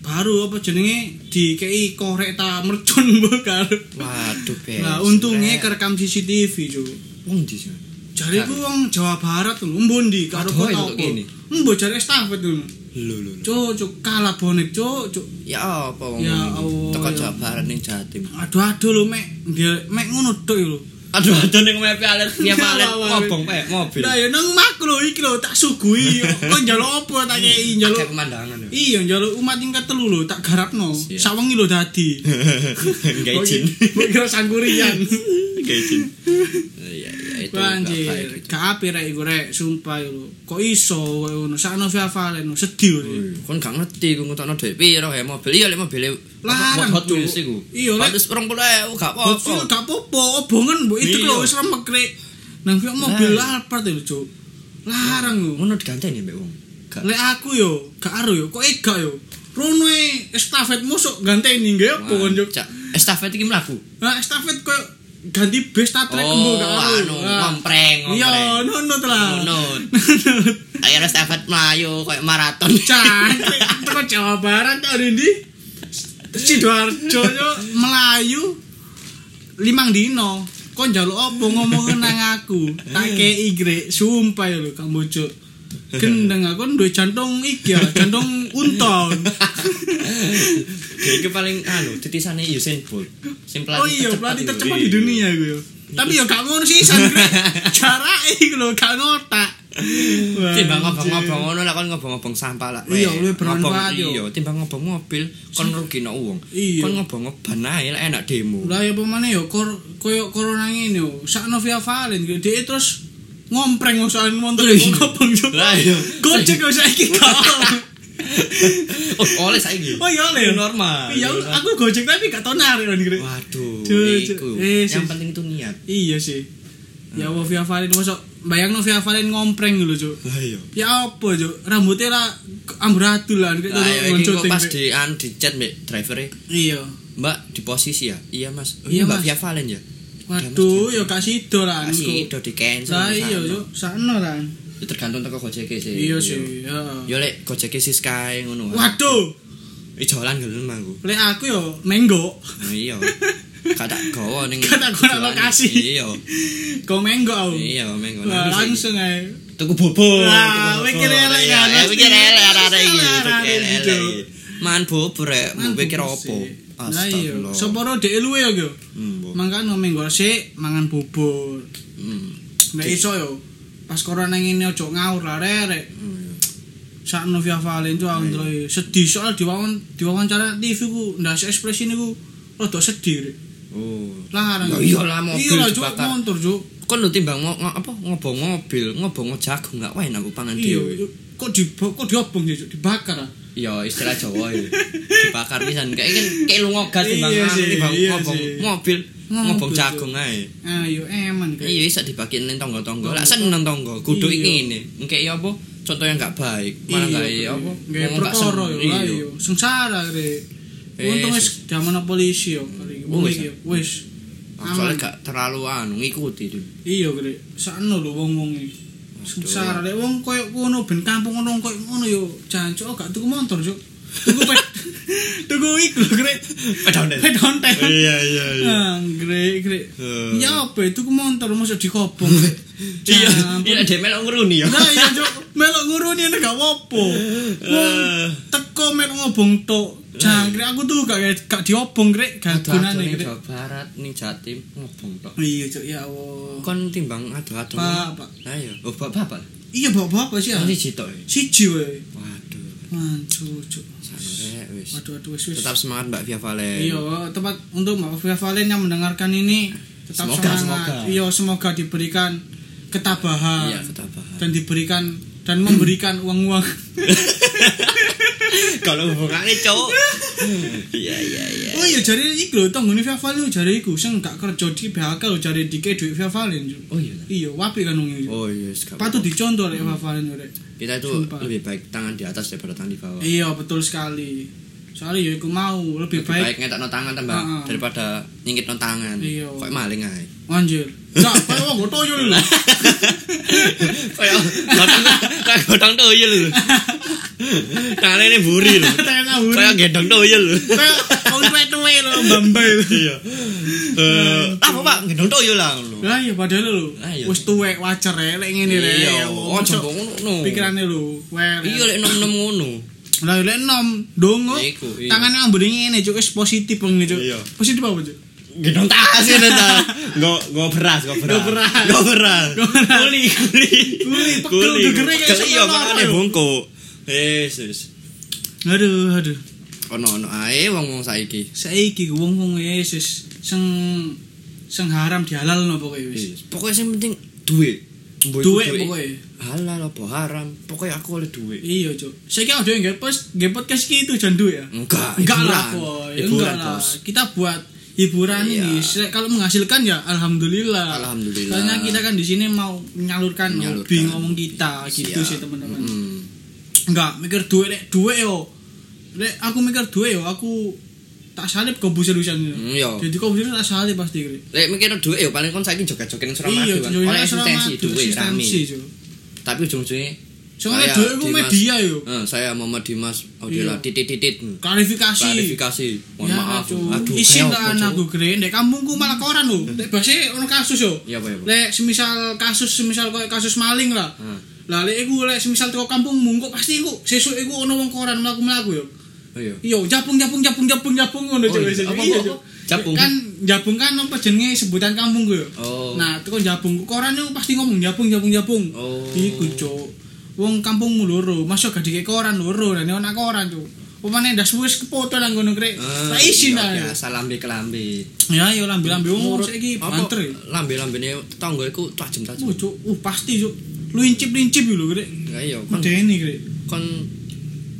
Speaker 1: baru apa jenenge dikei korek ta mercon (laughs) bakar.
Speaker 2: Waduh, Bes.
Speaker 1: Nah, untungnya kerekam CCTV cuk.
Speaker 2: wong di sini.
Speaker 1: Jare ku wong Jawa Barat lho, mbondi karo
Speaker 2: Aduh,
Speaker 1: kota
Speaker 2: Kan. entuk kene.
Speaker 1: apa. Mbo jare estafet lho.
Speaker 2: Lho lho. lho.
Speaker 1: Cuk, cuk kalah bonek cuk, cuk.
Speaker 2: Ya apa wong.
Speaker 1: Ya
Speaker 2: ini?
Speaker 1: Allah,
Speaker 2: Teko
Speaker 1: ya.
Speaker 2: Jabaran ning Jatim.
Speaker 1: aduh aduh lo mek dia mek ngono tok yo lo
Speaker 2: Aduh, aduh ning mepe (laughs) aler dia malet
Speaker 1: Wah, wah, wah.
Speaker 2: ngobong pek mobil.
Speaker 1: nah ya nang omahku lo iki lo tak suguhi kok njaluk apa tak kei
Speaker 2: Kayak
Speaker 1: njaluk
Speaker 2: pemandangan (laughs) ya.
Speaker 1: iya njaluk umat yang ketelu lo tak garapno
Speaker 2: Siap.
Speaker 1: sawengi lo dadi
Speaker 2: Enggak izin.
Speaker 1: Mbok kira
Speaker 2: (laughs)
Speaker 1: sangkurian
Speaker 2: Enggak izin. Iya, iya itu. nggak baik
Speaker 1: banjir
Speaker 2: itu.
Speaker 1: gak api rek iku rek sumpah yo lo kok iso koyo ngono sakno Via Valen lo sedih lo
Speaker 2: kon gak ngerti ku ngutokno dhek piro ya mobil iya lek mobil e
Speaker 1: Larang,
Speaker 2: hot
Speaker 1: Bu.
Speaker 2: wheels iku
Speaker 1: Iya, Lek.
Speaker 2: 120.000 gak
Speaker 1: Bocil
Speaker 2: apa-apa
Speaker 1: gak apa-apa, obongan mbok itu lo
Speaker 2: Oh, Iya.
Speaker 1: wis remek rek nang kok mobil
Speaker 2: Nah.
Speaker 1: Alphard lho cuk larang lo
Speaker 2: ngono diganteni mbek wong gak
Speaker 1: Lek aku yo, gak aru yo, kok ega yo. Rono e estafet musuk ganteni nggih apa kon yo.
Speaker 2: Cak, estafet iki mlaku
Speaker 1: Nah, estafet koyo ganti base tak trek
Speaker 2: oh
Speaker 1: gak aru.
Speaker 2: anu ngompreng
Speaker 1: Yo,
Speaker 2: ngompreng
Speaker 1: nonot lah. (laughs)
Speaker 2: Nunut.
Speaker 1: Nunut.
Speaker 2: ayo estafet mlayu koyo maraton (laughs)
Speaker 1: Cantik, teko Jawa Barat ta ndi? Sidoarjo yo Melayu limang dino. Kon njaluk apa ngomong nang aku? Tak kei grek, sumpah yo lho Kang Bojo.
Speaker 2: (laughs)
Speaker 1: Gendeng aku duwe jantung iki ya, jantung unton.
Speaker 2: (laughs) dia itu paling anu titisane Usain Bolt. Sing
Speaker 1: oh iya
Speaker 2: tercepat
Speaker 1: pelatih
Speaker 2: itu.
Speaker 1: tercepat
Speaker 2: Iya.
Speaker 1: di dunia gue yo. tapi yo gak ngono sih san
Speaker 2: (laughs)
Speaker 1: cara iku lho gak ngotak Wah,
Speaker 2: timbang ngobong-ngobong
Speaker 1: anjir.
Speaker 2: ngono lah kon ngobong-ngobong sampah lah
Speaker 1: Iya,
Speaker 2: weh.
Speaker 1: luwih bermanfaat,
Speaker 2: Ngobong-
Speaker 1: yo.
Speaker 2: iya timbang ngobong mobil kon rugino wong
Speaker 1: Iya.
Speaker 2: kon ngobong ban ae lah enak demo
Speaker 1: lah ya pemane yo kor koyo corona ngene yo sakno via valen gitu dia terus ngompreng soal montor
Speaker 2: Iya.
Speaker 1: ngobong yo
Speaker 2: Lah, iya.
Speaker 1: gojek yo saiki gak
Speaker 2: (laughs)
Speaker 1: ono.
Speaker 2: (laughs) oh oleh saiki
Speaker 1: oh iya oleh
Speaker 2: normal
Speaker 1: iya aku gojek tapi gak tau narik lho gitu
Speaker 2: waduh
Speaker 1: Cuk, cuk.
Speaker 2: iku
Speaker 1: Eh, sis.
Speaker 2: yang penting itu niat
Speaker 1: iya sih ya Allah via valen masuk bayangno via valen ngompreng gitu cuk
Speaker 2: ayo
Speaker 1: ya apa cuk rambutnya lah amburadul lah gitu
Speaker 2: ayo ya, iya, iki kok
Speaker 1: ngoncoting,
Speaker 2: pas
Speaker 1: Cuk.
Speaker 2: di an di chat mbek driver
Speaker 1: iya
Speaker 2: mbak di posisi ya iya mas
Speaker 1: Iya,
Speaker 2: iya mbak
Speaker 1: Mas.
Speaker 2: via Valen ya
Speaker 1: waduh ya gak sido lah
Speaker 2: kasih
Speaker 1: niku
Speaker 2: do di cancel
Speaker 1: lah iya cuk sakno lah
Speaker 2: tergantung teko gojek sih
Speaker 1: iya sih heeh.
Speaker 2: yo lek gojek sih sky ngono
Speaker 1: waduh
Speaker 2: ijolan gelem aku
Speaker 1: lek aku yo menggo
Speaker 2: (laughs) Nah, iya.
Speaker 1: (laughs)
Speaker 2: Kata gowo ning
Speaker 1: Gak tak gowo lokasi. (laughs)
Speaker 2: Iya.
Speaker 1: kau menggo aku
Speaker 2: Iya, mengko.
Speaker 1: Wah,
Speaker 2: Nanti
Speaker 1: langsung ae
Speaker 2: saiki. tuku bubur. Iya,
Speaker 1: Wah, mikir elek ya, pasti.
Speaker 2: Mikir elek arek-arek iki.
Speaker 1: Arek-arek
Speaker 2: Mikir
Speaker 1: iki,
Speaker 2: elek
Speaker 1: Cuk.
Speaker 2: iki. Man bubur eh, rek,
Speaker 1: Kan
Speaker 2: mau pikir
Speaker 1: bubur
Speaker 2: opo?
Speaker 1: sih. Lah iya,
Speaker 2: Astagfirullah.
Speaker 1: sopo ro dhek luwe yo yo.
Speaker 2: Hmm, bo-
Speaker 1: Mangkan no menggo sik mangan bubur.
Speaker 2: hmm.
Speaker 1: Nek iso yo pas corona ngene ojo ngawur lah rek.
Speaker 2: Hmm.
Speaker 1: Sakno Via Valen tuh aku ndelok sedih soal diwawan diwawancara TV ku ndas ekspresi niku rada sedih. Rek.
Speaker 2: Oh.
Speaker 1: Larang.
Speaker 2: Ya iyalah, mobil
Speaker 1: Iya lah, Cuk,
Speaker 2: dibakar.
Speaker 1: montor Cuk.
Speaker 2: Kon lu timbang ngo, ngo- apa ngobong mobil, ngobong jagung gak wae aku pangan
Speaker 1: Iya,
Speaker 2: dhewe.
Speaker 1: kok di kok diobong ya, Cuk, dibakar. ah.
Speaker 2: Ya istilah Jawa ya. Dibakar pisan kayak kan kayak lu ngogas timbang
Speaker 1: Iya
Speaker 2: anu,
Speaker 1: sih,
Speaker 2: timbang
Speaker 1: iya
Speaker 2: ngobong
Speaker 1: sih.
Speaker 2: mobil, ngobong
Speaker 1: Ngobong, Cuk.
Speaker 2: jagung ae.
Speaker 1: Ayo Ah, eman kayak.
Speaker 2: Iya iso dibagiin ning tangga-tangga. Lah seneng tangga. Kudu
Speaker 1: Iya.
Speaker 2: iki ngene. Engke ya apa? Contoh yang gak baik. Malah gak iya
Speaker 1: Gak
Speaker 2: apa? ngomong gak
Speaker 1: perkara
Speaker 2: seneng.
Speaker 1: yo
Speaker 2: Iya.
Speaker 1: lah yo. Sengsara rek.
Speaker 2: Eh,
Speaker 1: Untung wis diamono polisi yo kali.
Speaker 2: Oh, wis,
Speaker 1: Wis wis.
Speaker 2: Aku Ah, Soalnya gak terlalu anu ngikuti
Speaker 1: (laughs)
Speaker 2: tuh.
Speaker 1: Iya rek. Sakno lho wong-wong iki. Sengsara rek wong koyo ngono ben kampung ngono koyo ngono yo. Jancuk oh, gak tuku motor yo. Tuku ped. (laughs) tuku iku lho rek.
Speaker 2: Pedonet.
Speaker 1: Pedonten.
Speaker 3: iya iya iya
Speaker 1: Ah, Anggrek, grek.
Speaker 3: Eh.
Speaker 1: Ya apa itu ku motor masuk dikobong.
Speaker 3: (laughs)
Speaker 1: Grek.
Speaker 2: Iya,
Speaker 1: Campur.
Speaker 2: iya dia melok ngruni ya.
Speaker 1: Nah, iya
Speaker 2: (laughs)
Speaker 1: cuk, melok nguruni nek gak apa. Wong
Speaker 3: Eh.
Speaker 2: Ah.
Speaker 1: teko melok ngobong tok. Jangkrik aku tuh gak gak diobong grek, gak
Speaker 2: Gunane
Speaker 1: gunane
Speaker 2: ning
Speaker 1: grek.
Speaker 2: Jawa Barat, ning Jatim ngobong tok.
Speaker 1: Iya cuk, ya Allah.
Speaker 2: Kon timbang adu-adu.
Speaker 1: Pak, Pak.
Speaker 2: Lah iya. Oh, bapak-bapak.
Speaker 1: Iya bapak-bapak sih. ya.
Speaker 2: Nanti jitok. ya.
Speaker 1: Siji wae.
Speaker 2: Waduh.
Speaker 1: Mancu cuk.
Speaker 2: Sare wis.
Speaker 1: Waduh aduh wis wis.
Speaker 2: Tetap semangat Mbak Via Valen.
Speaker 1: Iya, tepat untuk Mbak Fia Valen yang mendengarkan ini tetap
Speaker 2: Semoga,
Speaker 1: semangat.
Speaker 2: semoga.
Speaker 1: Iya, semoga diberikan ketabahan.
Speaker 2: Iya, ketabahan.
Speaker 1: Dan diberikan dan
Speaker 2: (clears throat)
Speaker 1: memberikan uang-uang.
Speaker 2: Kalau hubungannya cowok. (laughs) Iya iya iya.
Speaker 1: oh iya, jari iku lho, tanggone Fia Valen lho, jari iku sing gak kerja di PHK lho, jari dikek duit Fia Valen. Cuk.
Speaker 2: Oh iya.
Speaker 1: Iya, wapi kan wong iki.
Speaker 2: Oh iya, sekarang.
Speaker 1: Patut dicontoh lek Fia Valen lho.
Speaker 2: kita itu
Speaker 1: Sumpah.
Speaker 2: lebih baik tangan di atas daripada tangan di bawah.
Speaker 1: Iya, betul sekali. Soalnya ya iku mau lebih,
Speaker 2: lebih
Speaker 1: baik
Speaker 2: baik, ngetak no tangan tambah
Speaker 1: Heeh.
Speaker 2: daripada nyingkit no tangan.
Speaker 1: Iya.
Speaker 2: Kayak maling ae.
Speaker 1: anjir. Enggak, kaya wong gotoyo
Speaker 2: (laughs)
Speaker 1: lho.
Speaker 2: Kayak gotong (laughs) kayak gotong tuyul lho. Tangan ini buri lho.
Speaker 1: Kayak ngawur.
Speaker 2: Kayak gendong tuyul lho.
Speaker 1: Kayak wong tuwe-tuwe lho, mbambai lho.
Speaker 3: iya Eh,
Speaker 2: Apa Pak gendong tuyul lah lho.
Speaker 1: Lah ya padahal lho.
Speaker 2: Lah iya.
Speaker 1: Wis tuwek wajar ae lek ngene rek.
Speaker 2: Iya,
Speaker 1: Ya, wong
Speaker 2: oh
Speaker 1: sok
Speaker 2: jembok ngono.
Speaker 1: Pikirane lho, wer.
Speaker 2: Iya lek nom-nom ngono.
Speaker 1: Lah lek enom dongo.
Speaker 2: Iku, iya.
Speaker 1: Tangane ambune ngene cuk wis positif wong iki, cuk.
Speaker 3: Iya.
Speaker 1: Positif apa cuk?
Speaker 2: Gendong tas ngene ta.
Speaker 3: nggak nggak beras nggak beras
Speaker 1: Nggak beras.
Speaker 3: nggak beras
Speaker 1: Kuli kuli. Kuli pekel
Speaker 3: Kuli.
Speaker 1: gegere kayak
Speaker 2: Pekel, iya,
Speaker 1: iso lara,
Speaker 2: makanya,
Speaker 1: yo.
Speaker 3: bungku Yesus
Speaker 1: Aduh aduh.
Speaker 2: Ono-ono ae wong-wong saiki.
Speaker 1: Saiki wong-wong e, Yesus sing sing haram dihalal nopo kowe wis.
Speaker 2: Pokoknya sing penting duit. Mbok iku
Speaker 1: Duit
Speaker 2: duit.
Speaker 1: pokoknya.
Speaker 2: Halal apa haram, pokoknya aku oleh duit.
Speaker 1: Iya cuk. Saiki ada yang nggak post, nggak podcast ki itu jandu ya.
Speaker 2: Enggak,
Speaker 1: enggak
Speaker 2: Ah, hiburan.
Speaker 1: lah boy,
Speaker 2: Hiburan,
Speaker 1: enggak lah.
Speaker 2: Bos.
Speaker 1: Kita buat hiburan
Speaker 2: Iya.
Speaker 1: ini. Se- Kalau menghasilkan ya alhamdulillah.
Speaker 2: Alhamdulillah.
Speaker 1: Karena kita kan di sini mau menyalurkan,
Speaker 2: Menyalurkan.
Speaker 1: hobi Kan ngomong kita gitu
Speaker 2: Siap.
Speaker 1: sih teman-teman.
Speaker 2: Mm.
Speaker 1: Enggak mikir duit rek duit yo. Rek aku mikir duit yo aku tak salib kau busir urusan
Speaker 2: Mm, yo.
Speaker 1: Jadi kau busir tak salib pasti Rek.
Speaker 2: Lek mikir duit ya paling kon saiki joget-joget ning Suramadu.
Speaker 1: Iya,
Speaker 2: kan.
Speaker 1: jadi
Speaker 2: Oleh
Speaker 1: asrama
Speaker 2: eksistensi
Speaker 1: itu,
Speaker 2: duit rame.
Speaker 1: eksistensi, Cuk.
Speaker 2: Tapi ujung-ujungnya
Speaker 1: Soalnya
Speaker 2: saya,
Speaker 1: duit itu
Speaker 2: Dimas-
Speaker 1: media yo.
Speaker 2: Eh, saya Muhammad Dimas
Speaker 1: Iya.
Speaker 2: Audila titit-titit.
Speaker 1: Klarifikasi.
Speaker 2: Klarifikasi. Mohon maaf.
Speaker 1: Cuk.
Speaker 2: Aduh.
Speaker 1: Isin
Speaker 2: ayo,
Speaker 1: lah
Speaker 2: Cuk.
Speaker 1: anakku gere ndek kampungku malah koran lho. Lek base e ono kasus yo.
Speaker 2: Iya, apa, iya, apa?
Speaker 1: Lek semisal kasus semisal koyo kasus maling lah.
Speaker 2: Hmm.
Speaker 1: Lah lek iku lek semisal teko kampungmu engko pasti iku sesuk iku ono wong koran mlaku-mlaku yo.
Speaker 2: Oh iya.
Speaker 1: Yo japung japung japung japung japung ngono
Speaker 2: Oh,
Speaker 1: Cuk.
Speaker 2: iya.
Speaker 1: Iya, Cuk.
Speaker 2: Apa,
Speaker 1: Iya,
Speaker 2: apa,
Speaker 1: Cuk.
Speaker 2: apa? Japung?
Speaker 1: Kan japung kan apa jenenge sebutan kampung gue.
Speaker 2: Oh.
Speaker 1: Nah, itu kan japung. Koran itu pasti ngomong japung japung japung.
Speaker 2: Oh.
Speaker 1: Iku Cuk. Wong kampungmu loro, masuk gak dikek koran loro, dan ana koran Cuk. Pemane ndas wis kepoto nang ngono krek.
Speaker 2: Eh,
Speaker 1: Tak isin
Speaker 2: iya,
Speaker 1: ta.
Speaker 2: Biasa lambe-kelambe.
Speaker 1: Ya yo lambi-lambi wong saiki
Speaker 2: Apa,
Speaker 1: banter. ya.
Speaker 2: Lambe-lambene tangga iku tajem-tajem.
Speaker 1: Oh, Cuk. Uh, pasti Cuk. Lincip-lincip lho krek.
Speaker 2: Ya iya kon
Speaker 1: Medeni krek.
Speaker 2: kon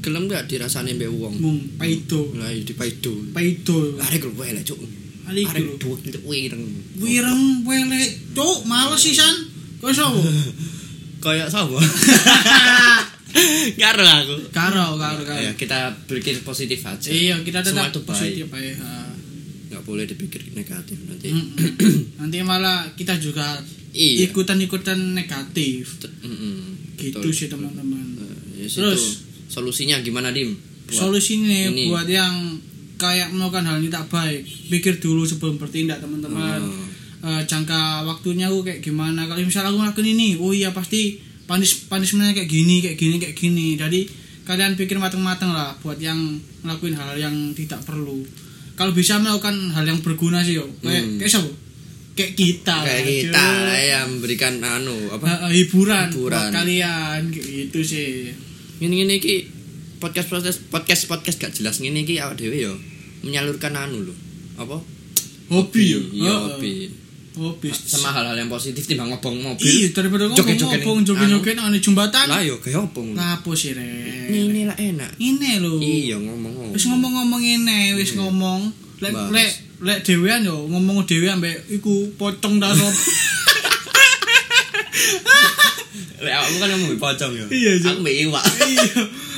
Speaker 2: gelem gak dirasane mbek wong.
Speaker 1: Mung paido.
Speaker 2: Lah iya dipaido.
Speaker 1: Paido.
Speaker 2: Arek lu wae cuk.
Speaker 1: Ali
Speaker 2: Arek
Speaker 1: iku lho.
Speaker 2: duwek itu ireng.
Speaker 1: Wireng welek, cuk, males sisan. Kok sapa?
Speaker 2: Kayak sapa? Karo aku.
Speaker 1: Karo, karo, karo.
Speaker 2: Ya kita berpikir positif aja.
Speaker 1: Nah. Iya, kita
Speaker 2: Semua
Speaker 1: tetap
Speaker 2: itu baik.
Speaker 1: positif baik. ha. (clears throat)
Speaker 2: Gak boleh dipikir negatif nanti.
Speaker 1: Mm-mm. Nanti malah kita juga
Speaker 2: Iya.
Speaker 1: ikutan-ikutan negatif.
Speaker 2: Mm-mm.
Speaker 1: Gitu
Speaker 2: Betul.
Speaker 1: sih, teman-teman.
Speaker 2: Eh, ya,
Speaker 1: Terus?
Speaker 2: situ. solusinya gimana Dim? Buat-
Speaker 1: Solusinya
Speaker 2: ini.
Speaker 1: buat yang kayak melakukan hal ini tak baik, pikir dulu sebelum bertindak, teman-teman.
Speaker 2: Hmm.
Speaker 1: Eh, jangka waktunya aku kayak gimana kalau misalnya aku ngelakuin ini oh iya pasti panis panismenya kayak gini kayak gini kayak gini jadi kalian pikir matang-matang lah buat yang ngelakuin hal yang tidak perlu kalau bisa melakukan hal yang berguna sih yo kayak
Speaker 2: Hmm.
Speaker 1: kayak siapa kayak kita
Speaker 2: kayak
Speaker 1: lah,
Speaker 2: kita
Speaker 1: cuy.
Speaker 2: lah ya memberikan anu apa
Speaker 1: Eh, eh, hiburan,
Speaker 2: Hiburan.
Speaker 1: buat kalian kayak gitu sih
Speaker 2: ini ini ki podcast podcast podcast podcast gak jelas ini ki awak dewe yo menyalurkan anu lho apa
Speaker 1: hobi yo
Speaker 2: Iya,
Speaker 1: Heeh.
Speaker 2: hobi
Speaker 1: hobi
Speaker 2: sama hal-hal yang positif timbang ngobong mobil
Speaker 1: iya daripada ngomong
Speaker 2: Joget-jogetan.
Speaker 1: ngomong joget-joget Nah, ane
Speaker 2: lah
Speaker 1: jembatan
Speaker 2: yo kayak obong
Speaker 1: ngapus sih
Speaker 2: ini
Speaker 1: re
Speaker 2: ini lah enak
Speaker 1: ini loh
Speaker 2: iya ngomong
Speaker 1: wis ngomong-ngomong ngene wis ngomong lek
Speaker 2: Bagus.
Speaker 1: lek lek dhewean yo ngomong dhewean mbek iku pocong ta sop
Speaker 2: (laughs) lek awakmu kan ngomong mbek pocong yo
Speaker 1: Iya, Cuk.
Speaker 2: aku mbek iwak
Speaker 1: iya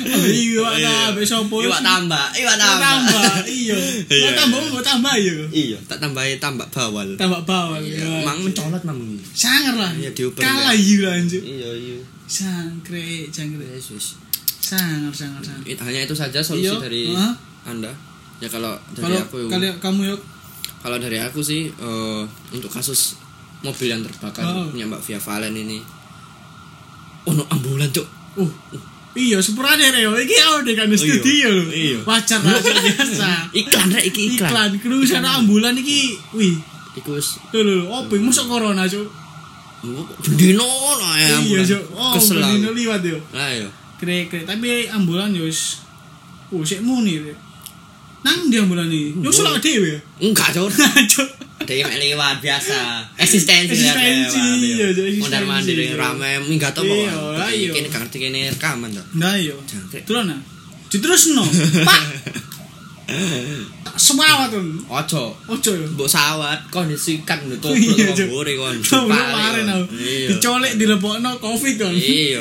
Speaker 1: iya iwak ta mbek sapa
Speaker 2: iwak tambah iwak tambah
Speaker 1: tambah iya
Speaker 3: Iya,
Speaker 1: Lah tambah mbok tambah yo
Speaker 2: iya tak tambahi tambah bawal
Speaker 1: tambah bawang ya.
Speaker 2: mang mencolot mang
Speaker 1: sangar lah
Speaker 2: Iya, dioper,
Speaker 1: kalah iya lah anjuk
Speaker 2: iya iya
Speaker 1: sangkre sangkre
Speaker 2: Wes, wes.
Speaker 1: sangar sangar sangar
Speaker 2: It- hanya itu saja solusi
Speaker 1: Iya.
Speaker 2: dari
Speaker 1: Hah?
Speaker 2: anda ya kalau dari
Speaker 1: kalau
Speaker 2: aku
Speaker 1: kalau kamu yuk
Speaker 2: kalau dari aku sih eh, untuk kasus mobil yang terbakar
Speaker 1: Oh.
Speaker 2: punya mbak Via Valen ini oh no ambulan
Speaker 1: (laughs)
Speaker 2: cok
Speaker 1: uh iya sepurane reo iki awake kan
Speaker 2: Oh,
Speaker 1: studio lho
Speaker 3: iya.
Speaker 1: wajar
Speaker 2: (laughs)
Speaker 1: lah wajar biasa
Speaker 2: iklan rek iki
Speaker 1: iklan
Speaker 2: iklan,
Speaker 1: kru sana ambulan iki wih
Speaker 2: iku wis
Speaker 1: Lho lho, opo iki? masuk corona, Cuk?
Speaker 2: oh, bendino no ya
Speaker 1: Iya,
Speaker 2: Eh, ambulan
Speaker 1: Cuk. Oh,
Speaker 2: kesel aku.
Speaker 1: benino liwat yo.
Speaker 2: lah iya. yo
Speaker 1: Krek-krek, tapi ambulan yo wis oh sik muni. Rek. Nang di ambulan iki. Yo (laughs) selak dhewe. ya?
Speaker 2: enggak cok
Speaker 1: Cuk.
Speaker 2: Dewi mek lewat biasa eksistensi lah
Speaker 1: Eksistensi, iya, Cuk,
Speaker 2: lewat mondar
Speaker 1: eksistensi.
Speaker 2: mandir rame minggat apa
Speaker 1: Iya, lah, iya.
Speaker 2: ini gak ngerti kene rekaman tuh
Speaker 1: Nah yo.
Speaker 2: Jangkrik.
Speaker 1: Terus nah.
Speaker 2: (laughs)
Speaker 1: Diterusno. Pak. Semawat tuh.
Speaker 2: ojo
Speaker 1: Ojo yo.
Speaker 2: Mbok sawat kondisi kan nutup
Speaker 1: Iya, Cuk.
Speaker 2: ngombore kon.
Speaker 1: Coba kemarin aku
Speaker 2: Iya.
Speaker 1: dicolek dilebokno covid kon.
Speaker 2: Iya.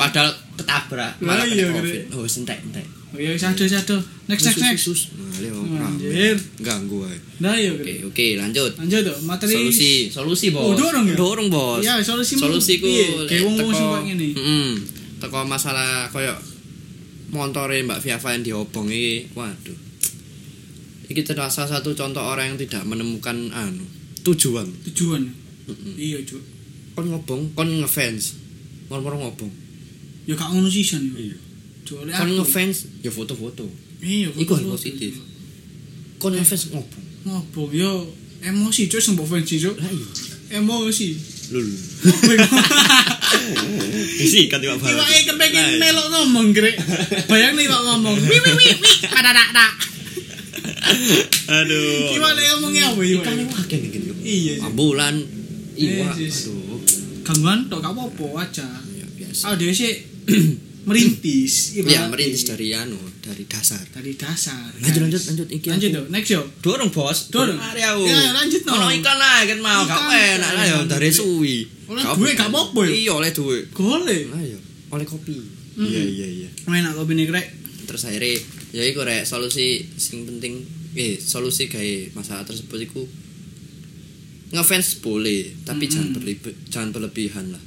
Speaker 2: Padahal ketabrak
Speaker 1: Lah,
Speaker 2: malah
Speaker 1: iya,
Speaker 2: kena
Speaker 1: Gede.
Speaker 2: Covid. Oh, sentek entek.
Speaker 1: Yo sadu sadu. Next next next.
Speaker 2: Sus. Male
Speaker 1: Anjir.
Speaker 2: Ganggu ae.
Speaker 1: Nah yo.
Speaker 2: Oke,
Speaker 1: Krek.
Speaker 2: oke, lanjut.
Speaker 1: Lanjut tuh materi
Speaker 2: Solusi, solusi, Bos.
Speaker 1: Oh, dorong ya?
Speaker 2: Dorong, Bos.
Speaker 1: Iya, solusi mu-
Speaker 2: Solusi ku
Speaker 1: piye?
Speaker 2: lek
Speaker 1: Kayak wong-wong
Speaker 2: teko-
Speaker 1: sumpah ngene.
Speaker 2: Mm-mm. Teko masalah koyo montore Mbak Viava yang diobong iki. Waduh. Iki terasa satu contoh orang yang tidak menemukan anu tujuan.
Speaker 1: tujuan.
Speaker 2: Mm-mm.
Speaker 1: Iya, Cuk.
Speaker 2: kon ngobong kon ngefans moro-moro ngobong
Speaker 1: Ya gak ngono sisan yo. Cuk, lek
Speaker 2: kon
Speaker 1: aku-
Speaker 2: Iya. ngefans ya foto-foto
Speaker 1: Iya,
Speaker 2: Iku hal
Speaker 1: betul.
Speaker 2: positif. kon ngefans ngobong
Speaker 1: Ngopo yo emosi cuk sing mbok fancy cuk.
Speaker 2: lah iya
Speaker 1: Emosi.
Speaker 2: (laughs) lul
Speaker 3: Isi kan tiba baru.
Speaker 1: Iwake kepengin melok ngomong grek. Bayang nih kok ngomong. Wi wi wi wi kada da da.
Speaker 3: Aduh.
Speaker 2: Oh.
Speaker 1: Iwake ngomongnya apa iwak?
Speaker 2: kan iwak yang ngene yo
Speaker 1: Iya, Cuk.
Speaker 2: ambulan iwak
Speaker 1: Iya, sis.
Speaker 2: aduh
Speaker 1: Gangguan tok gak apa-apa aja.
Speaker 2: ya biasa
Speaker 1: Ah dhewe sih (clears throat) merintis.
Speaker 2: ya
Speaker 1: ibaratnya.
Speaker 2: merintis dari anu dari dasar
Speaker 1: dari dasar. guys.
Speaker 2: Lanjut, lanjut, lanjut. Iki
Speaker 1: Lanjut
Speaker 2: aku-
Speaker 1: yo. Next yo.
Speaker 2: dorong bos
Speaker 1: Dorong.
Speaker 2: mari aku
Speaker 1: Iya, lanjut, no.
Speaker 2: Ono iklan lah kan mau gak
Speaker 1: Iklan,
Speaker 2: enak lah yo
Speaker 1: iklan.
Speaker 2: dari suwi
Speaker 1: Oleh duit, gak apa-apa, yo.
Speaker 2: iya oleh duit
Speaker 1: Golek.
Speaker 2: lah yo oleh kopi
Speaker 3: Iya iya iya.
Speaker 1: Enak kopi nih grek.
Speaker 2: terus akhirnya ya iku rek solusi sing penting eh solusi gawe masalah tersebut iku ngefans boleh tapi jangan berlebe- jangan berlebihan lah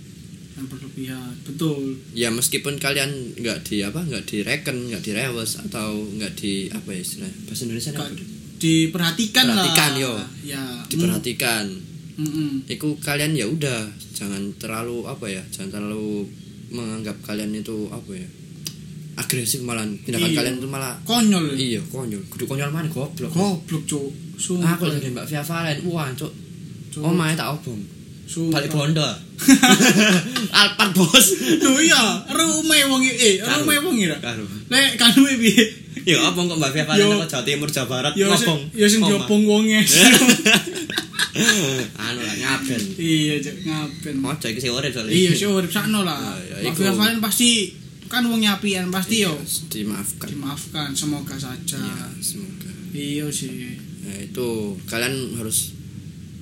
Speaker 1: Yang berlebihan. Betul.
Speaker 2: ya meskipun kalian nggak di apa nggak direken nggak direwes atau nggak di apa ya istilahnya bahasa Indonesia
Speaker 1: Gak-
Speaker 2: apa deh?
Speaker 1: diperhatikan lah.
Speaker 2: Perhatikan, yo.
Speaker 1: Ya. mm,
Speaker 2: diperhatikan
Speaker 1: Mm-mm.
Speaker 2: iku kalian ya udah jangan terlalu apa ya jangan terlalu menganggap kalian itu apa ya agresif malah tindakan
Speaker 1: Iya.
Speaker 2: kalian itu malah
Speaker 1: konyol
Speaker 2: iya konyol kudu konyol mana goblok
Speaker 1: goblok cuk sumpah
Speaker 2: aku lagi mbak Via Valen wah cok
Speaker 1: Cuk.
Speaker 2: Ah, oh main tak obong
Speaker 1: Sumpah.
Speaker 3: Balik bondo.
Speaker 2: (laughs) Alphard bos
Speaker 1: Duh iya, rumah wong iki. eh,
Speaker 3: Kanu.
Speaker 1: rumah wong ira.
Speaker 3: Kanu.
Speaker 1: Lek kanu piye?
Speaker 3: Yo obong kok Mbak Via Valen
Speaker 1: Yo.
Speaker 3: apa Jawa Timur Jawa Barat
Speaker 1: Ya
Speaker 3: ngobong.
Speaker 1: sing ya sing
Speaker 3: Omah.
Speaker 1: diopong wonge.
Speaker 2: (laughs) Ya. anu lah ngaben
Speaker 1: Iya, Cuk, ngapen.
Speaker 3: Ojo iki sing urip soalé.
Speaker 1: Iya, sih urip sakno lah.
Speaker 2: Ya, ya,
Speaker 1: Pak
Speaker 2: iku. Iya.
Speaker 1: Valen pasti kan wong nyapian pasti yo.
Speaker 2: dimaafkan
Speaker 1: Dimaafkan semoga saja.
Speaker 2: ya semoga
Speaker 1: Iya sih.
Speaker 2: Nah, itu kalian harus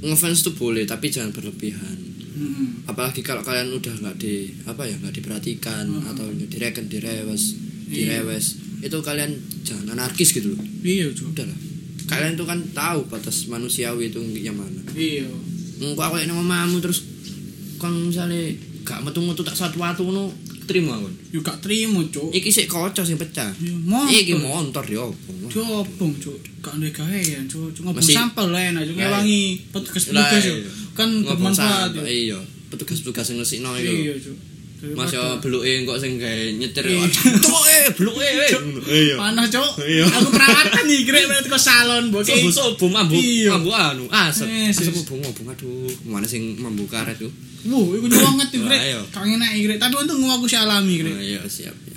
Speaker 2: ngefans tuh boleh tapi jangan berlebihan.
Speaker 1: Hmm.
Speaker 2: Apalagi kalau kalian udah nggak di apa ya nggak diperhatikan
Speaker 1: Hmm.
Speaker 2: atau direken direwes
Speaker 1: Iya.
Speaker 2: direwes itu kalian jangan anarkis gitu loh.
Speaker 1: Iya, Cuk.
Speaker 2: Udah lah. Kalian tuh kan tahu batas manusiawi itu yang mana.
Speaker 1: Iya.
Speaker 2: Engko aku yang mamamu terus kan misalnya gak metu-metu tak satu-satu no terima aku.
Speaker 1: Yo gak trimo, Cuk.
Speaker 2: Iki sik kocok sing pecah.
Speaker 1: Iya, motor.
Speaker 2: Iki motor ya opo.
Speaker 1: Diopong, Cuk. Gak ndek gawean, Cuk. Cuma
Speaker 2: Mesti-
Speaker 1: sampel lah enak, Cuk.
Speaker 2: Lah, iya.
Speaker 1: Ngewangi petugas-petugas yo.
Speaker 2: Lah, iya.
Speaker 1: Kan
Speaker 2: Ngobong
Speaker 1: bermanfaat
Speaker 2: santai,
Speaker 1: yo.
Speaker 2: Iya, petugas-petugas yang ngesikno iku.
Speaker 1: Iya, Cuk. Daripada-
Speaker 2: Mas yo beluke kok sing gawe nyetir.
Speaker 1: Iya.
Speaker 2: Tok e beluke.
Speaker 3: Iya.
Speaker 1: (laughs) panas cok
Speaker 3: Iya.
Speaker 1: aku perawatan nih kira berarti ke salon bos
Speaker 2: Sobo sobo mambu
Speaker 1: Iya.
Speaker 2: mambu anu Ah, asep.
Speaker 1: Eh, sis.
Speaker 2: Asep obong obong aduh. Mana sing mambu karet tuh.
Speaker 1: wuh itu banget tuh kira
Speaker 2: Wah, ayo.
Speaker 1: kangen naik kira tapi untung gua aku si alami kira
Speaker 2: Ah, Iya siap ya.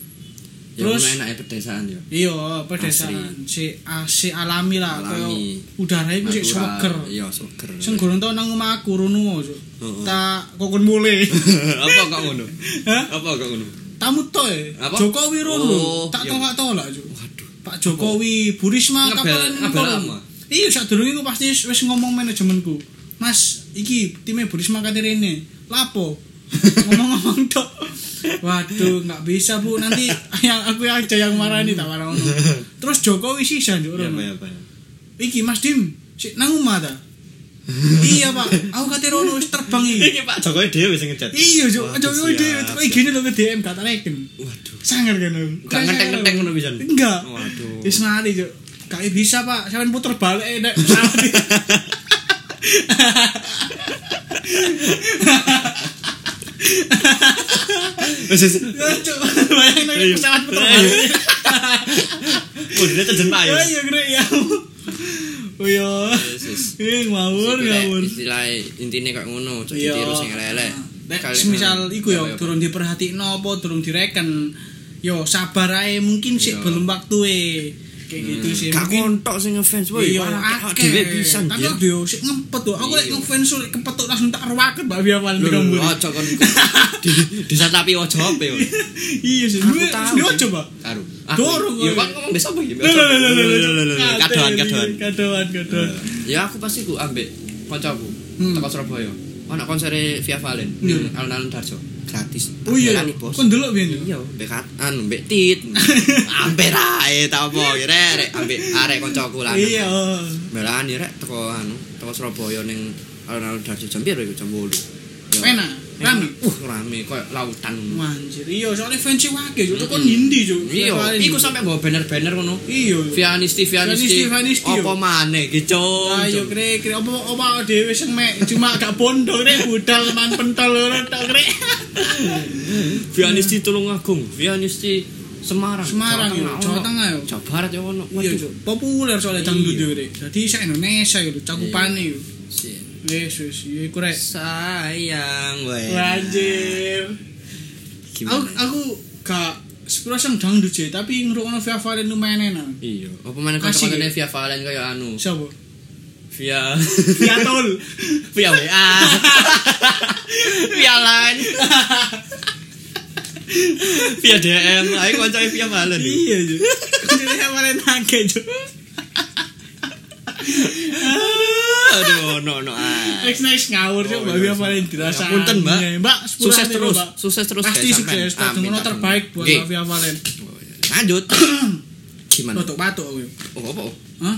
Speaker 2: Ya
Speaker 1: Terus?
Speaker 2: ono enak pedesaan ya.
Speaker 1: iya pedesaan si ah, si alami lah kaya
Speaker 2: Alami.
Speaker 1: udaranya itu si
Speaker 2: Natural.
Speaker 1: seger
Speaker 2: Iya seger.
Speaker 1: sing gorong tau nang omah aku runo Cuk.
Speaker 2: Heeh.
Speaker 1: tak kokon
Speaker 2: (laughs)
Speaker 1: mule
Speaker 2: (laughs) Apa kok ngono?
Speaker 1: Hah?
Speaker 2: Apa kok ngono?
Speaker 1: tamu toy
Speaker 2: Apa?
Speaker 1: Jokowi
Speaker 2: Oh,
Speaker 1: runo tak
Speaker 2: iya.
Speaker 1: tolak tolak Cuk.
Speaker 2: Waduh.
Speaker 1: Pak Jokowi Burisma
Speaker 2: Ngebel-
Speaker 1: kapan ngebel.
Speaker 2: ngebel lama.
Speaker 1: iya saat dulu aku pasti wis wis ngomong manajemenku Mas iki timnya Burisma Katerine lapo ngomong-ngomong tok waduh nggak bisa bu nanti (laughs) yang aku aja yang marah nih tak marah ngono. terus Jokowi sih sanjuk
Speaker 3: Iya, apa
Speaker 1: rono
Speaker 3: ya, apa ya.
Speaker 1: iki Mas Dim sik nang omah ta iya Pak aku kate rono wis terbang iki
Speaker 3: Iki Pak Jokowi dhewe sing ngechat.
Speaker 1: iya Jo
Speaker 3: Waduh,
Speaker 1: Jokowi dhewe
Speaker 3: siap.
Speaker 1: kok gini lho ke DM gak tarekin
Speaker 2: Waduh.
Speaker 1: sangar kan aku
Speaker 2: Gak ngenteng-ngenteng ngono pisan.
Speaker 1: enggak
Speaker 2: Waduh.
Speaker 1: Wis mari, Cuk. Kayak bisa, Pak. Sampeyan puter balik eh, nek
Speaker 2: (laughs)
Speaker 1: salah.
Speaker 3: Wis wis.
Speaker 1: Ya, Cuk. Bayangin aja pesawat puter (laughs) balik.
Speaker 3: Kudune terjen Pak ya.
Speaker 1: Ayo, gede ya. Oh iya.
Speaker 2: Yes, yes. iya.
Speaker 1: Eh, ngawur, ngawur.
Speaker 2: Istilah intine kok ngono, cok
Speaker 1: Iya.
Speaker 2: ditiru sing elek.
Speaker 1: Nek semisal iku ya durung diperhatikno apa durung direken. Yo sabar ae mungkin sih
Speaker 2: Iya. Hmm.
Speaker 1: belum waktue. Kayak gitu sih.
Speaker 2: Gak
Speaker 1: Mungkin-
Speaker 2: kontok sing ngefans woi.
Speaker 1: Iya, akeh.
Speaker 2: dhewe pisan
Speaker 1: Tapi
Speaker 2: Bil.
Speaker 1: yo sik ngempet tuh. Aku lek
Speaker 2: Iya.
Speaker 1: ngefans lek kepetuk langsung tak ruwaket Mbak Bia Valen
Speaker 2: Lho,
Speaker 1: di
Speaker 2: lho,
Speaker 1: kampung.
Speaker 2: Ojo kon di disatapi ojo ape. woi.
Speaker 1: (laughs) Iya sih.
Speaker 2: Aku
Speaker 1: Duwe
Speaker 2: tahu.
Speaker 1: duwe coba.
Speaker 2: Karo.
Speaker 1: Dorong,
Speaker 2: Ya
Speaker 1: woi.
Speaker 2: kan ngomong besok apa ya?
Speaker 1: Lho lho lho lho, lho, lho, lho.
Speaker 3: Kadoan, kadoan.
Speaker 1: Kadoan kadoan.
Speaker 2: Ya aku pasti ku ambek kancaku
Speaker 1: Hmm.
Speaker 2: teko Surabaya. Ana konsere Via Valen
Speaker 1: Iya.
Speaker 2: alun-alun Darjo. Gratis.
Speaker 1: Oh iya.
Speaker 2: Jalani, Bos.
Speaker 1: Kon delok biyen.
Speaker 2: Iya, mbek kat- anu mbek
Speaker 1: (laughs)
Speaker 2: tit. Ambek rae ta apa ki rek ambek arek kancaku lan.
Speaker 1: Iya. oh.
Speaker 2: Melani rek teko anu, teko Surabaya ning alun-alun Darjo jam piro iku jam 8.
Speaker 1: Enak. Rame.
Speaker 2: Uh, rame koyo lautan.
Speaker 1: Anjir, iya soalnya fans wakil, Cuk. kon Hindi, Cuk.
Speaker 2: Iya, iku sampe bawa banner-banner ngono.
Speaker 1: Iya.
Speaker 2: Vianisti,
Speaker 1: Vianisti,
Speaker 2: Vianisti.
Speaker 1: Vianisti, yo. Ah,
Speaker 2: Apa maneh iki, Cung?
Speaker 1: Ayo
Speaker 2: Cung.
Speaker 1: kre kre opo opo dhewe sing mek cuma gak bondo kre budal man pentol loro tok
Speaker 2: (laughs)
Speaker 1: kre.
Speaker 2: Vianisti Tulungagung, Vianisti Semarang.
Speaker 1: Hmm. Semarang, yo.
Speaker 2: Tengah,
Speaker 1: Jawa
Speaker 2: ono.
Speaker 1: Tengah, yo.
Speaker 2: Jawa Barat ya ono.
Speaker 1: Iya,
Speaker 2: Waduh.
Speaker 1: Cuk. Populer soalnya dangdut
Speaker 2: Iya.
Speaker 1: yo kre. Dadi sak Indonesia yo cakupane yo.
Speaker 2: Sih.
Speaker 1: Wis wis iya iku rek.
Speaker 2: Sayang wae.
Speaker 1: Anjir. Aku
Speaker 2: Gimana?
Speaker 1: aku gak sepuro sing dangdut sih, tapi ngrungokno Via Valen lumayan enak.
Speaker 2: Iya, apa
Speaker 1: Asik,
Speaker 2: mana konten-kontennya via Valen kayak anu?
Speaker 1: Siapa?
Speaker 2: Via
Speaker 1: Via
Speaker 2: (laughs)
Speaker 1: Tol.
Speaker 2: via WA. via line. via DM, ayo koncone via Valen. yo.
Speaker 1: (laughs) Iya, Cuk. Kudu Via Valen nangke, Cuk.
Speaker 2: Aduh, no no. ah.
Speaker 1: Next next ngawur Cuk,
Speaker 2: Oh,
Speaker 1: Mbak
Speaker 2: iya,
Speaker 1: Via
Speaker 2: iya.
Speaker 1: Valen dirasa.
Speaker 2: Punten, Mbak.
Speaker 1: Mbak,
Speaker 2: Sukses
Speaker 1: sepurane,
Speaker 2: terus,
Speaker 1: Mbak.
Speaker 2: sukses terus
Speaker 1: Pasti
Speaker 2: guys,
Speaker 1: sukses,
Speaker 2: sampean. Amin,
Speaker 1: Tunggu
Speaker 2: amin.
Speaker 1: terbaik buat
Speaker 2: Nggih.
Speaker 1: Mbak Via Valen. (clears throat)
Speaker 2: Lanjut. Gimana?
Speaker 1: Rotok patok aku.
Speaker 2: Oh, apa?
Speaker 1: Hah?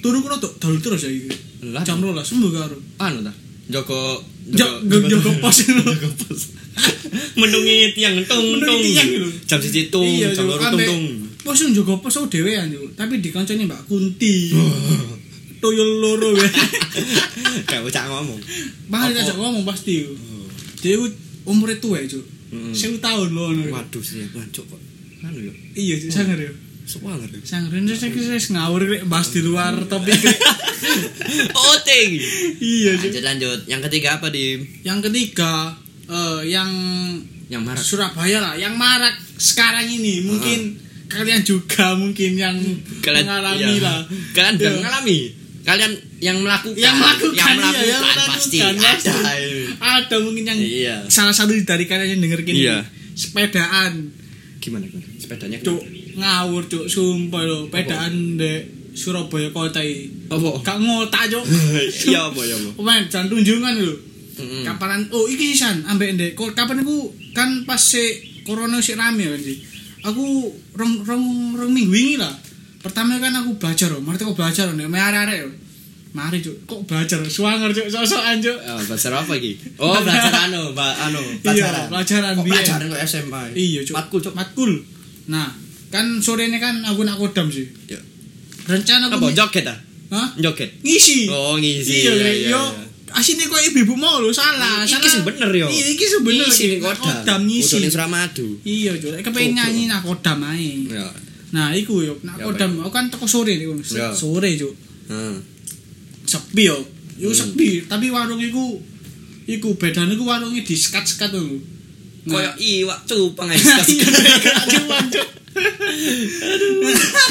Speaker 1: Turu kono tok dol terus ya iki.
Speaker 2: Lah.
Speaker 1: Jam 12 sembuh karo.
Speaker 2: Anu ta? Joko
Speaker 1: Jok
Speaker 2: (laughs)
Speaker 1: jok pos lho.
Speaker 3: Mendungi tiang entung entung.
Speaker 1: Mendungi tiang gitu.
Speaker 3: Jam siji tung,
Speaker 1: Iya,
Speaker 3: jam
Speaker 1: Cuk.
Speaker 3: loro tung
Speaker 1: Ambek-
Speaker 3: tung.
Speaker 1: Pos yang jaga pos aku dhewean yo, tapi dikonconi Mbak Kunti. (clears throat) Tuyul loro ya.
Speaker 2: (laughs)
Speaker 1: (laughs)
Speaker 3: Kayak bocah ngomong.
Speaker 1: Mahal tak ngomong pasti yo. Dia ku umure tuwa, Cuk.
Speaker 2: Mm-mm. Hmm.
Speaker 1: 1000 tahun lho ngono.
Speaker 2: Waduh, sih, ngancuk kok. anu yo
Speaker 1: iya sih sangar ya
Speaker 2: sewanger yo.
Speaker 1: sangar ini saya kira saya ngawur rek bahas di luar topik rek.
Speaker 2: (laughs) OT gitu.
Speaker 1: iya sih
Speaker 2: lanjut lanjut yang ketiga apa di
Speaker 1: yang ketiga eh, yang
Speaker 2: yang marah
Speaker 1: Surabaya lah yang marak sekarang ini mungkin kalian juga mungkin yang mengalami
Speaker 2: iya.
Speaker 1: lah
Speaker 2: kalian
Speaker 1: Iya.
Speaker 2: belum mengalami kalian yang melakukan
Speaker 1: yang melakukan
Speaker 2: yang
Speaker 1: iya,
Speaker 2: melakukan,
Speaker 1: yang melakukan,
Speaker 2: pasti
Speaker 1: pasti.
Speaker 2: ada
Speaker 1: ada mungkin yang
Speaker 2: Iya.
Speaker 1: salah satu dari kalian yang dengerin ini
Speaker 2: Iya.
Speaker 1: sepedaan
Speaker 2: gimana gimana sepedanya
Speaker 1: cuk ngawur cuk sumpah lo pedaan de Surabaya kota ini
Speaker 2: apa
Speaker 1: gak ngotak cuk
Speaker 2: (laughs) iya apa ya apa Hmm.
Speaker 1: Pemain jangan tunjungan lo
Speaker 2: Mm-mm.
Speaker 1: kapanan oh iki sih san ambek ndek Ko- kapan aku kan pas se corona sih rame kan sih aku rong rong rong minggu ini lah pertama kan aku belajar loh mari kok belajar loh nek arek-arek yo mari cuk kok belajar suwanger cuk sok-sokan cuk
Speaker 2: Ah, belajar apa iki oh belajar
Speaker 1: (laughs)
Speaker 2: anu ba, anu pelajaran
Speaker 1: Iya, pelajaran,
Speaker 2: kok
Speaker 1: biyen.
Speaker 2: pelajaran kok SMA
Speaker 1: iya cuk
Speaker 2: matkul cuk
Speaker 1: matkul nah kan sorenya kan aku nak kodam sih
Speaker 2: Iya.
Speaker 1: rencana
Speaker 2: apa
Speaker 1: aku
Speaker 2: joget ah
Speaker 1: Hah?
Speaker 2: joget
Speaker 1: ngisi
Speaker 2: Oh, ngisi.
Speaker 1: iya
Speaker 2: Iya,
Speaker 1: iya,
Speaker 2: iya,
Speaker 1: yo
Speaker 2: iya.
Speaker 1: asine kok ibu mau lo salah
Speaker 2: Iki
Speaker 1: salah
Speaker 2: sing bener, yo.
Speaker 1: iya iki sing bener
Speaker 2: Ngisi ning
Speaker 1: kodam
Speaker 2: kodam
Speaker 1: kodam ngisi
Speaker 2: Kudune Suramadu
Speaker 1: iya cuk Lek kepengin
Speaker 2: Goblok.
Speaker 1: nyanyi nak kodam ae
Speaker 2: ya
Speaker 1: nah iku yo nak
Speaker 2: Ya,
Speaker 1: kodam aku kan teko sore niku
Speaker 2: Ya.
Speaker 1: sore cuk
Speaker 2: Heeh.
Speaker 1: sepi yo yo
Speaker 2: Hmm.
Speaker 1: sepi tapi warung iku iku bedane iku warunge diskat-skat Nah, iya, lho (laughs)
Speaker 2: koyo iwak cupang ae
Speaker 1: Iya, cuman cuk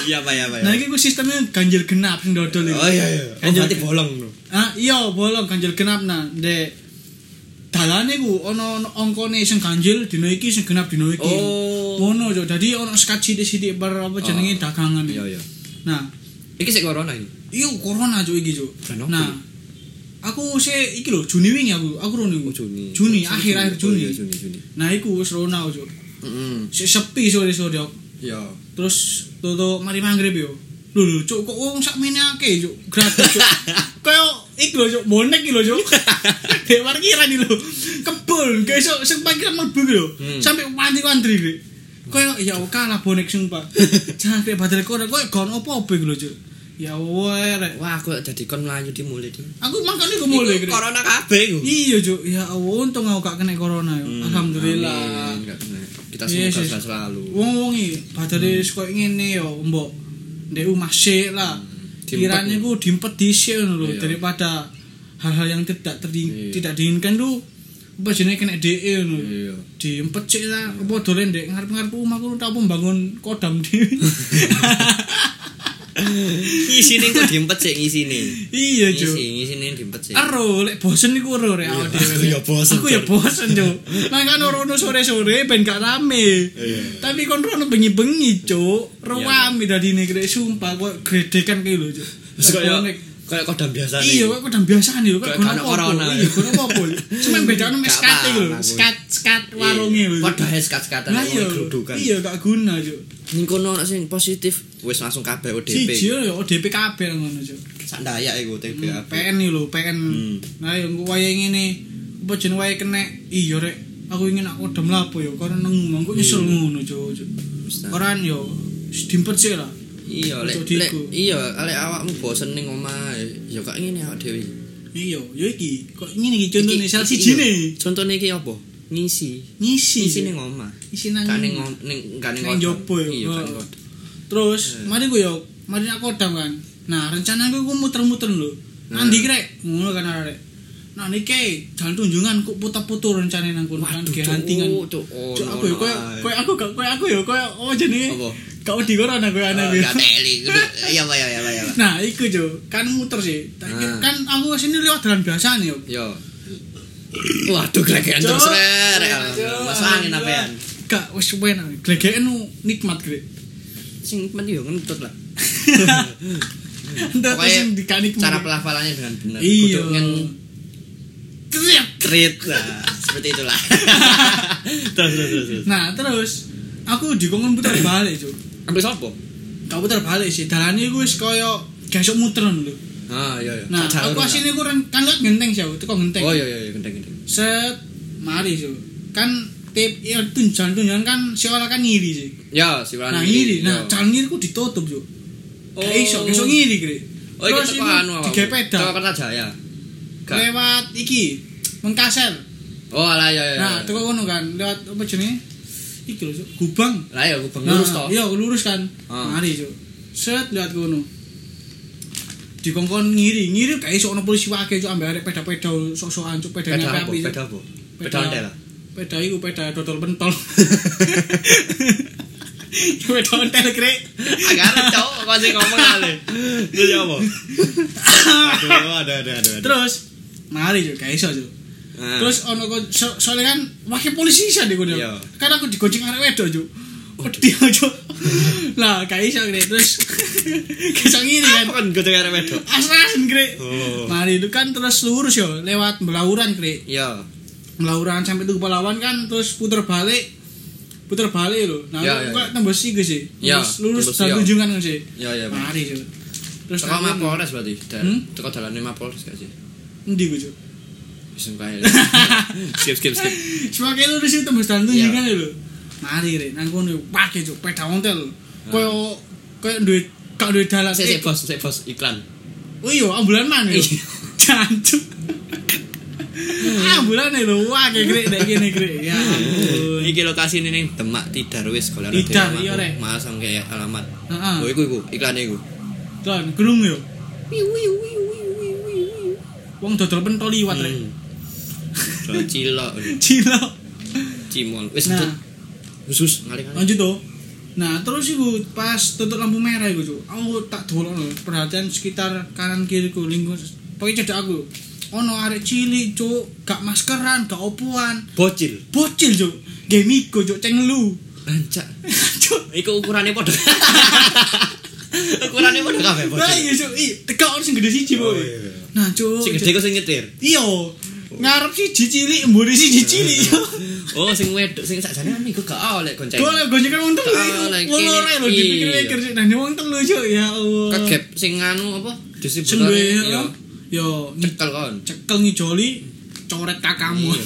Speaker 2: iya pak ya pak ya
Speaker 1: nah iki ku sistemnya ganjil genap sing dodol iku
Speaker 2: oh iya iya kan
Speaker 1: Ganjil
Speaker 2: berarti bolong no.
Speaker 1: Ah, iya, bolong ganjil genap nah. Ndek dalane ku ana ana angkane sing ganjil dina iki sing genap dina iki.
Speaker 2: Oh.
Speaker 1: Ngono yo. Dadi ana sekat sithik-sithik per apa jenenge
Speaker 2: Oh.
Speaker 1: dagangan
Speaker 2: iya iya
Speaker 1: Nah,
Speaker 2: iki sik corona iki
Speaker 1: iya corona cuk iki cuk.
Speaker 2: Lah, nopo?
Speaker 1: Nah, aku sih iki lho Juni wingi aku, aku rono iku.
Speaker 2: Oh, Juni
Speaker 1: Juni akhir-akhir Juni. Hmm.
Speaker 2: Oh, iya, Juni Juni
Speaker 1: Nah, iku wis rono aku, cuk.
Speaker 2: heeh
Speaker 1: Sik sepi sore-sore aku.
Speaker 2: ya
Speaker 1: Terus tutup mari maghrib yo. Lho, lho, cuk kok wong sak akeh cuk. Gratis
Speaker 2: (laughs)
Speaker 1: cuk. Kayak iku lho cuk, bonek iki lho cuk. Dek parkiran iki lho. Kebul, besok sing parkiran mlebu iki lho.
Speaker 2: Hmm.
Speaker 1: Sampai mandi ku antri iki. Kayak ya kalah bonek
Speaker 2: (laughs)
Speaker 1: sumpah. Jangan kayak badal kono koyo gon opo-opo iki lho cuk. Ya wae rek.
Speaker 2: wah aku jadi kon melayu di mulut iki.
Speaker 1: Aku makane ku mulai
Speaker 2: Iku
Speaker 1: iki.
Speaker 2: corona kabeh iku Hmm,
Speaker 1: Iya cuk, ya Allah untung aku gak kena corona yo. Alhamdulillah. Iya,
Speaker 2: Amin. Nggak kena. kita
Speaker 1: Yes,
Speaker 2: semoga
Speaker 1: yes.
Speaker 2: sehat selalu
Speaker 1: wong wong iki badane wis koyo ngene yo mbok ndek omah sik lah
Speaker 2: Dimpet.
Speaker 1: kirane ku dimpet dhisik ngono lho
Speaker 2: Iya.
Speaker 1: daripada hal-hal yang tidak terdi-
Speaker 2: Iya.
Speaker 1: tidak diinginkan tuh apa jenenge kena DE ngono lho.
Speaker 2: iya
Speaker 1: diempet sik lah apa dolen ndek ngarep-ngarep omahku tak apa mbangun kodam
Speaker 2: (laughs)
Speaker 1: dhewe
Speaker 2: ngisi ning kok diempet sik ngisi ning
Speaker 1: iya
Speaker 2: ngisi
Speaker 1: cuk
Speaker 2: ngisi ning diempet sik
Speaker 1: Ero, lek bosen iku ero rek awak
Speaker 2: (laughs) Iya, aku
Speaker 1: dhewe.
Speaker 2: ya bosen,
Speaker 1: Aku ya
Speaker 2: Cuk.
Speaker 1: bosen, Cuk. Nang kan rono sore-sore ben gak rame.
Speaker 2: Iya.
Speaker 1: Tapi kon rono bengi-bengi, Cuk. Rame dadine krek sumpah kok gredekan ki lho, Cuk.
Speaker 2: Terus kayak
Speaker 1: Bonek.
Speaker 2: kayak kodam biasa
Speaker 1: Iya, kok udah biasa nih, kok
Speaker 2: Kayak
Speaker 1: kono
Speaker 2: kano
Speaker 1: corona.
Speaker 2: corona,
Speaker 1: Iya,
Speaker 2: ya.
Speaker 1: kono apa? Cuman bedane mes
Speaker 2: Gak
Speaker 1: skat iku lho,
Speaker 2: paham aku.
Speaker 1: skat skat warunge lho.
Speaker 2: Padha skat-skatan
Speaker 1: Lah iya,
Speaker 2: gerudukan.
Speaker 1: iya gak guna, Cuk.
Speaker 2: Ning kono ana sing positif wis langsung kabeh
Speaker 1: Siji
Speaker 2: ODP.
Speaker 1: ya ODP kabeh ngono, Cuk.
Speaker 2: Sak ndayak iku ODP
Speaker 1: Hmm,
Speaker 2: kabeh.
Speaker 1: PN nih lho, PN.
Speaker 2: Hmm.
Speaker 1: Nah, yang gue wayang ini, apa jen wae kena? Iya rek, aku ingin aku dem lapo yo, karena neng mangku nyesel ngono jo.
Speaker 2: Mustahil.
Speaker 1: Koran yo, dimpet sih lah.
Speaker 2: Iya, lek
Speaker 1: Untuk
Speaker 2: lek
Speaker 1: diiku.
Speaker 2: iya, lek awakmu bosen ning omah ya kok ngene awak dhewe.
Speaker 1: Iya, yo iki, kok ini iki contoh nih, salah siji nih,
Speaker 2: Contone iki apa? Ngisi.
Speaker 1: ngisi,
Speaker 2: Ngisi ning omah.
Speaker 1: ngisi nang,
Speaker 2: Kan ning om- ning kan ning
Speaker 1: Nang
Speaker 2: kodam.
Speaker 1: jopo ya,
Speaker 2: Iya, kan
Speaker 1: oh.
Speaker 2: kodam.
Speaker 1: Terus, mari gue yo, mari aku kodam kan. Nah, rencana gue gue muter-muter lho.
Speaker 2: Nah.
Speaker 1: Nanti rek, ngono kan arek. Nah niki jalan tunjungan kok putar-putar rencane nang kono kan
Speaker 2: Waduh,
Speaker 1: ge
Speaker 2: cuk,
Speaker 1: hantingan.
Speaker 2: cuk, oh,
Speaker 1: Cuk,
Speaker 2: no,
Speaker 1: aku ya,
Speaker 2: no,
Speaker 1: koyo
Speaker 2: ay.
Speaker 1: koyo aku gak koyo aku ya koyo oh jenenge.
Speaker 2: Apa?
Speaker 1: Kau di kono koyo ana
Speaker 2: Eh,
Speaker 1: kowe.
Speaker 2: Gak teli. Iya, Pak, iya, iya, Pak, iya, Pak.
Speaker 1: (laughs) Nah, iku jo, kan muter sih. Tak-
Speaker 2: Nah.
Speaker 1: Kan aku sini lewat jalan biasa nih yo.
Speaker 2: Yo. Waduh, gregekan terus
Speaker 1: Cuk,
Speaker 2: rek.
Speaker 1: cuk,
Speaker 2: Mas angin
Speaker 1: alhamdulillah.
Speaker 2: apean.
Speaker 1: Gak wis wena, glegeken nu nikmat
Speaker 2: (laughs)
Speaker 1: grek.
Speaker 2: Sing penting yo ngentut lah.
Speaker 1: Entar
Speaker 2: Pokoknya
Speaker 1: sing dikanik
Speaker 2: cara
Speaker 1: mulai.
Speaker 2: pelafalannya dengan benar
Speaker 1: Iya.
Speaker 2: Kudu ngen-
Speaker 1: Teriak.
Speaker 2: treat nah, seperti itulah
Speaker 1: (laughs)
Speaker 2: terus terus terus, terus
Speaker 1: Nah, terus aku dikongkon putar balik, Cuk.
Speaker 2: ambil sopo
Speaker 1: Kau putar balik sih, dalane iku wis koyo gasok muteran lho.
Speaker 2: ah iya iya
Speaker 1: Nah,
Speaker 2: Sak jalur,
Speaker 1: aku
Speaker 2: lah.
Speaker 1: asine ku ren- kan lihat genteng sih, itu kok genteng.
Speaker 2: oh iya iya iya, gendeng gendeng
Speaker 1: Set, mari sih. Kan tip ya tunjangan tunjangan kan si orang kan ngiri sih.
Speaker 2: ya si Wulan
Speaker 1: Nah
Speaker 2: ini,
Speaker 1: ngiri, nah
Speaker 2: yo.
Speaker 1: jalan ngiri ku ditutup sih. Oh.
Speaker 2: Oh.
Speaker 1: Kayak iso, iso ngiri kiri.
Speaker 2: oh iya
Speaker 1: Terus
Speaker 2: kita
Speaker 1: ini
Speaker 2: anu
Speaker 1: tiga peda
Speaker 2: Toko Kertajaya. Gak.
Speaker 1: lewat iki Mengkaser.
Speaker 2: oh alah iya iya
Speaker 1: Nah, teko kono kan lewat apa jenenge? iki lho Cuk. gubang
Speaker 2: Lah ya aku pengurus
Speaker 1: Nah,
Speaker 2: toh.
Speaker 1: iya lurus kan
Speaker 2: Ah.
Speaker 1: mari Cuk. set lihat kono dikongkon ngiri ngiri kayak iso ono polisi wae Cuk, ambek arek peda-peda sok-sokan Cuk, pedane
Speaker 3: Pedal apa?
Speaker 1: api-api Cuk.
Speaker 3: Pedal apa? Pedal
Speaker 1: Peda-
Speaker 3: ndel.
Speaker 1: Peda iku peda dodol pentol. (laughs) Peda ontel krek.
Speaker 2: Agak arep cowok kok sing ngomong ale.
Speaker 3: Terus apa? Aduh, aduh, aduh, aduh. aduh.
Speaker 1: Terus mari yo gak iso yo.
Speaker 3: Ah.
Speaker 1: Terus ono kok so, soalnya kan wakil polisi iso deh kono.
Speaker 3: Iya.
Speaker 1: Kan aku digoceng arek wedok yo. Wedi aja. Lah gak iso krek terus. (laughs) Kesang ini kan.
Speaker 3: Apa kan goceng arek wedok?
Speaker 1: Asrasen krek.
Speaker 3: Oh.
Speaker 1: Mari itu kan terus lurus yo lewat belauran krek.
Speaker 2: Iya.
Speaker 1: Belauran sampai tuh kepalawan kan terus puter balik. Puter balik lho. Nah,
Speaker 2: Iya,
Speaker 1: aku
Speaker 2: iya,
Speaker 1: kok tembus iki sih.
Speaker 2: Iya,
Speaker 1: Lurus lurus
Speaker 2: tembus,
Speaker 1: dan
Speaker 2: iya.
Speaker 1: tunjungan kan sih.
Speaker 2: Iya iya. bener.
Speaker 1: Mari yo. Terus
Speaker 2: Teko
Speaker 1: aku-
Speaker 2: Mapolres berarti. Dal-
Speaker 1: Hmm?
Speaker 2: Teko dalane Mapolres gak sih?
Speaker 1: Endi gue Cuk?
Speaker 2: Wis
Speaker 1: (laughs)
Speaker 2: kae. Skip skip skip.
Speaker 1: Sebagai lurus itu tembus dan tunjungan
Speaker 2: Iya.
Speaker 1: lho. Mari rek nang kono yo pakai Cuk, peda ontel. Koyo koyo duwe kak duwe dalan.
Speaker 2: Sik
Speaker 1: Eh,
Speaker 2: sik bos, sik bos iklan.
Speaker 1: Oh iya, ambulan mana yo. (laughs)
Speaker 2: Iya. (laughs)
Speaker 1: Jancuk. Ambulan lho, wah kayak grek nek kene grek.
Speaker 2: (laughs)
Speaker 1: Ya ampun.
Speaker 2: Iki lokasi ini nih Demak Tidar wis kalau
Speaker 1: Tidar, iya, Rek. Ah.
Speaker 2: Masang kayak alamat.
Speaker 1: Heeh.
Speaker 2: Oh iku iku iklane iku.
Speaker 1: Tuan, gerung yo. Wong dodol pentol liwat rek.
Speaker 2: Hmm. Kalau Cilok,
Speaker 1: Cilok.
Speaker 2: Cimol. Wis
Speaker 1: Nah,
Speaker 2: Hmm. nah. khusus ngalih-ngalih.
Speaker 1: lanjut tuh. Nah, terus iku pas tutup lampu merah iku, Cuk. Aku tak dolokno perhatian sekitar kanan kiriku lingkup pokoke cedak aku. Ono arek cilik, Cuk, gak maskeran, gak opoan.
Speaker 3: Bocil.
Speaker 1: Bocil, Cuk. Nggih migo, Cuk, ceng lu. (laughs)
Speaker 2: Rancak.
Speaker 1: Cuk.
Speaker 2: Iku ukurannya padha. (laughs) ukurannya padha kabeh
Speaker 1: Nah,
Speaker 2: bocil.
Speaker 1: iya, Cuk. Ih, tegak ono sing gede siji,
Speaker 3: Oh,
Speaker 1: Boy.
Speaker 3: iya, iya.
Speaker 1: Nah, Cuk.
Speaker 2: Sing gede ku sing nyetir.
Speaker 1: Iya. Ngarep siji cilik, mburi siji cilik.
Speaker 2: (laughs) Oh, sing wedok sing sakjane kan iku gak oleh gonceng.
Speaker 1: Gue lagi gonjekan wong telu
Speaker 2: Ah,
Speaker 1: iku.
Speaker 2: lagi
Speaker 1: Wong
Speaker 2: ini,
Speaker 1: ora lho
Speaker 2: iya.
Speaker 1: dipikir-pikir sik nang wong telu Cuk. Ya Allah.
Speaker 2: Kegep sing anu apa?
Speaker 1: Sing duwe,
Speaker 2: Distributor.
Speaker 1: ya.
Speaker 2: Iya.
Speaker 1: Yo, ngi-
Speaker 2: Cekel kon.
Speaker 1: cekel ngijoli coret kakakmu.
Speaker 2: Iya.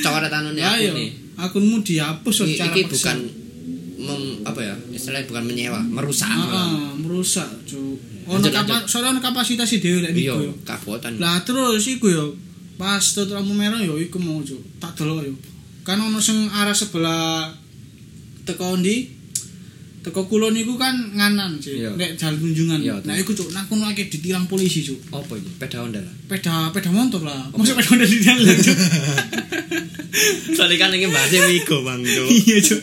Speaker 2: Coret anune
Speaker 1: Ya
Speaker 2: aku
Speaker 1: yo.
Speaker 2: nih.
Speaker 1: Akunmu dihapus
Speaker 2: I-
Speaker 1: secara
Speaker 2: Iki
Speaker 1: paksa.
Speaker 2: bukan mem, apa ya? Istilahnya bukan menyewa, merusak.
Speaker 1: Ah,
Speaker 2: malah.
Speaker 1: Heeh, merusak, Cuk. Ono
Speaker 2: Lanjut,
Speaker 1: kapa
Speaker 2: lanjut.
Speaker 1: soalnya ono kapasitas e dhewe lek
Speaker 2: Iya,
Speaker 1: niku yo.
Speaker 2: kabotan.
Speaker 1: Lah terus iku yo pas tutup lampu merah yo iku mau Cuk. Tak delok yo. Kan ono sing arah sebelah teko ndi? Teko kulon niku kan nganan sih,
Speaker 2: Iya.
Speaker 1: nek jalan kunjungan.
Speaker 2: Iya,
Speaker 1: nah,
Speaker 2: tuh.
Speaker 1: iku cuk, nah kono akeh ditilang polisi cuk.
Speaker 2: Apa iki? Peda ondel.
Speaker 1: Peda peda motor lah. Masa peda udah ditilang
Speaker 2: (laughs)
Speaker 1: cuk.
Speaker 2: Soalnya kan ini bahasnya Wigo bang Jo.
Speaker 1: Iya cuk.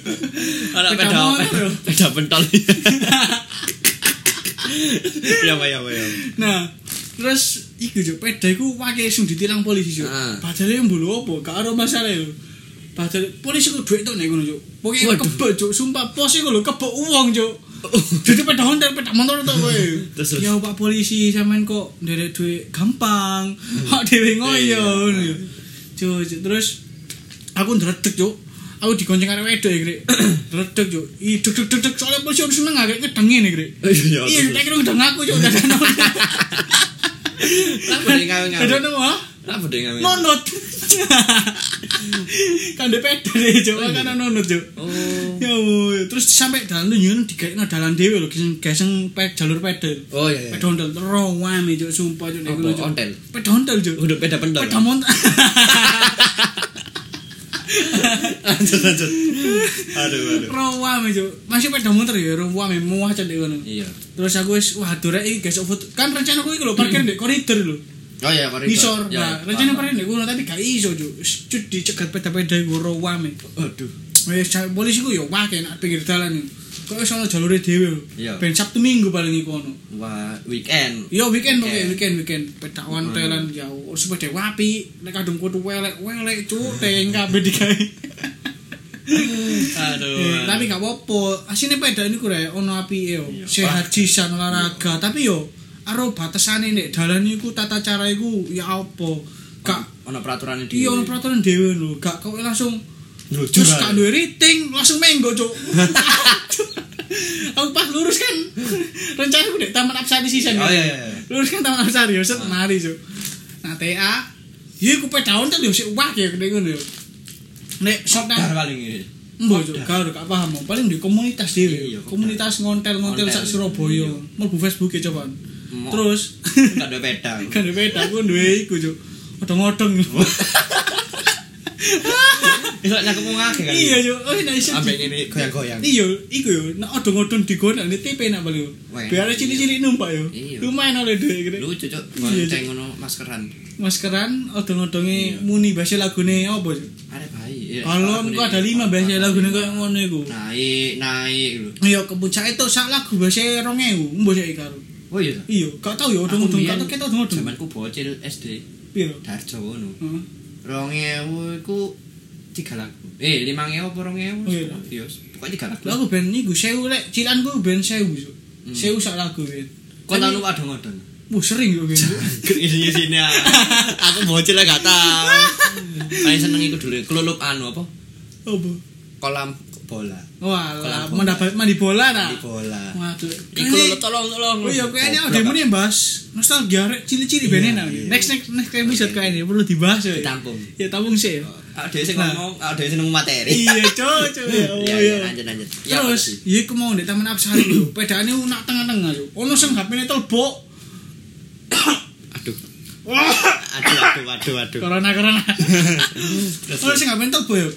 Speaker 2: Anak
Speaker 1: Peda
Speaker 2: peda
Speaker 1: motor yo.
Speaker 2: peda pentol. (laughs)
Speaker 1: (laughs)
Speaker 3: Ya, apa, ya, apa, ya.
Speaker 1: Nah, terus iku cuk, peda iku pakai sing ditilang polisi cuk.
Speaker 2: Ah.
Speaker 1: Padahal yang mbulu opo, gak ada masalah yo. Padahal polisi ku duit tok nek ngono cuk. Pokoke
Speaker 2: Waduh.
Speaker 1: kebek cuk, sumpah pos iku lho kebek uang cuk. Jadi peda hontel, peda motor tok kowe.
Speaker 2: Terus, terus.
Speaker 1: Ya Pak polisi sampean kok nderek duit gampang.
Speaker 2: Hmm.
Speaker 1: Hak dhewe ngoyo ngono yo. Cuk, cuk, terus aku ndredeg cuk. Aku digonceng karo wedok ya,
Speaker 2: (clears throat)
Speaker 1: Grik. Ndredeg cuk. I deg deg deg deg soalnya polisi harus seneng agak ngedengi nih, Grik.
Speaker 3: Iya,
Speaker 1: Iya,
Speaker 3: terus.
Speaker 1: tak kira ngedeng aku cuk. Dadano.
Speaker 2: Lah boleh ngawin-ngawin.
Speaker 1: Dadano ha?
Speaker 2: Lah boleh ngawin.
Speaker 1: Nonot. Kan dia peda deh cuk, kan nonot cuk.
Speaker 2: Oh.
Speaker 1: Ya woy. terus sampai dalan tuh nyun digaekno dalan dhewe lho geseng geseng pe, jalur peda.
Speaker 2: Oh iya. iya.
Speaker 1: Peda ontel rowan cuk sumpah cuk nek
Speaker 2: Apa,
Speaker 1: ngono, Cuk.
Speaker 2: ontel?
Speaker 1: Peda ontel cuk.
Speaker 2: Udah peda pentol.
Speaker 1: Peda mont. (laughs)
Speaker 3: Lanjut, lanjut. Aduh, aduh.
Speaker 1: Rowan cuk. Masih peda motor ya rowan muah cuk nek ngono.
Speaker 2: Iya.
Speaker 1: Terus aku wis wah durek iki guys foto. Kan rencana aku iki lho
Speaker 2: (clears throat)
Speaker 1: parkir ndek koridor lho.
Speaker 2: Oh iya, koridor.
Speaker 1: Ngisor.
Speaker 2: Ya,
Speaker 1: Nah,
Speaker 2: paham,
Speaker 1: rencana
Speaker 2: paham.
Speaker 1: parkir ndek kono tapi gak iso cuk. Wis, Cuk dicegat peda-peda iku rowan.
Speaker 2: Aduh.
Speaker 1: Wis cah- polisi ku yo wah kena pinggir dalan. Kok wis ana jalure dhewe.
Speaker 2: Iya.
Speaker 1: Ben Sabtu Minggu paling iku ono.
Speaker 2: Wah, weekend.
Speaker 1: Yo weekend pokoke
Speaker 2: Weekend. Hmm.
Speaker 1: weekend weekend pedak wontelan ya sepeda wapi nek kadung kudu welek welek cuk teng kabeh
Speaker 2: (laughs)
Speaker 1: digawe.
Speaker 3: Aduh.
Speaker 1: Eh, Tapi gak apa-apa. Asine peda niku rek ono apike yo. Sehat jisan olahraga tapi yo aro batasane nek dalan iku tata cara iku ya apa. Gak
Speaker 2: Ono peraturan di.
Speaker 1: iya ono peraturan dhewe lho. Gak kok langsung
Speaker 3: Lucu,
Speaker 1: terus
Speaker 3: kan?
Speaker 1: gak
Speaker 2: ya?
Speaker 1: duwe rating langsung menggo
Speaker 2: (laughs)
Speaker 1: cuk aku pas lurus kan rencana aku dek taman absari sisan
Speaker 2: Oh
Speaker 1: kan?
Speaker 2: iya iya. iya.
Speaker 1: lurus kan taman absari set mari cuk nah TA iya aku peda ontel yo sik wah ya kene ngono yo nek sok
Speaker 2: Dar
Speaker 1: nang
Speaker 2: paling ini.
Speaker 1: mbo cuk gak gak paham Mbok. paling di komunitas
Speaker 2: Iya,
Speaker 1: dhewe
Speaker 2: komunitas.
Speaker 1: komunitas ngontel-ngontel
Speaker 2: Ngontel. Iya.
Speaker 1: sak Surabaya mlebu Facebook e cobaan
Speaker 2: Mo.
Speaker 1: terus
Speaker 2: Enggak ada peda.
Speaker 1: (laughs) kan beda aku duwe iku cuk odong-odong
Speaker 2: Iso nyakup wong akeh kan.
Speaker 1: Iya yo, oh nek iso.
Speaker 2: Ambek ngene goyang-goyang.
Speaker 1: Iya, iku yo, nek odong-odong digono nek TP nak paling.
Speaker 2: Wah.
Speaker 1: Biar cilik-cilik numpak yo.
Speaker 2: Iya.
Speaker 1: Lumayan oleh dhuwit gitu.
Speaker 2: Lucu
Speaker 1: Iya,
Speaker 2: cok,
Speaker 1: Cuk.
Speaker 2: bonceng ngono maskeran.
Speaker 1: Maskeran odong-odonge
Speaker 2: Iya.
Speaker 1: muni bahasa lagune opo?
Speaker 2: Ada bayi.
Speaker 1: Kalau engko ada lima bahasa lagune koyo ngono iku.
Speaker 2: Naik, naik lho.
Speaker 1: Iya, kepuncak itu sak lagu bahasa 2000, mbok sik karo.
Speaker 2: Oh iya. Cuk.
Speaker 1: Iya, gak tau yo
Speaker 2: Aku
Speaker 1: odong-odong,
Speaker 2: mbiyen
Speaker 1: gak tau kita odong-odong.
Speaker 2: Zamanku bocil SD
Speaker 1: Piro?
Speaker 2: Darjo ngono.
Speaker 1: Heeh.
Speaker 2: 2000 iku tiga lagu. Eh, 5000 apa 2000?
Speaker 1: Oh, iya.
Speaker 2: Iya, pokoknya tiga lagu.
Speaker 1: Lah aku ben niku 1000 lek cilanku ben 1000. Cuk.
Speaker 2: Hmm.
Speaker 1: 1000 sak lagu ben.
Speaker 2: Kok tak lupa dong (laughs) ngodon.
Speaker 1: Wah, sering yo ben.
Speaker 2: Isinya sini ah. (laughs) Aku bocil lah gak (laughs) tau. Paling seneng iku dulu kelulup anu apa?
Speaker 1: Opo?
Speaker 2: Kolam bola.
Speaker 1: Walah,
Speaker 2: Kolam bola.
Speaker 1: mendapat mandi bola ta?
Speaker 2: Di bola.
Speaker 1: Waduh.
Speaker 2: Iku lho tolong tolong.
Speaker 1: Oh iya, kayaknya
Speaker 2: Goblok,
Speaker 1: udah ini bahas nostalgia rek cili-cili ben enak.
Speaker 2: iya.
Speaker 1: Next next next episode kayaknya perlu dibahas ya.
Speaker 2: Ditampung.
Speaker 1: Ya tampung sih. ya.
Speaker 2: Ah, dhewe sing
Speaker 1: Nah.
Speaker 2: ngomong, ah, dhewe sing ngomong (laughs) materi.
Speaker 1: (laughs) Iya, cocok ya. Allah,
Speaker 2: Oh, Iya,
Speaker 1: ya.
Speaker 2: iya, lanjut lanjut. Ya, apa sih?
Speaker 1: Terus, iya aku mau di Taman Absari lho. Pedane unak tengah-tengah lho. Ono sing HP-ne telbok.
Speaker 2: aduh,
Speaker 1: Wah,
Speaker 2: aduh, aduh, aduh, (laughs) aduh.
Speaker 1: corona-corona.
Speaker 2: Terus,
Speaker 1: Ono sing HP-ne telbok ya.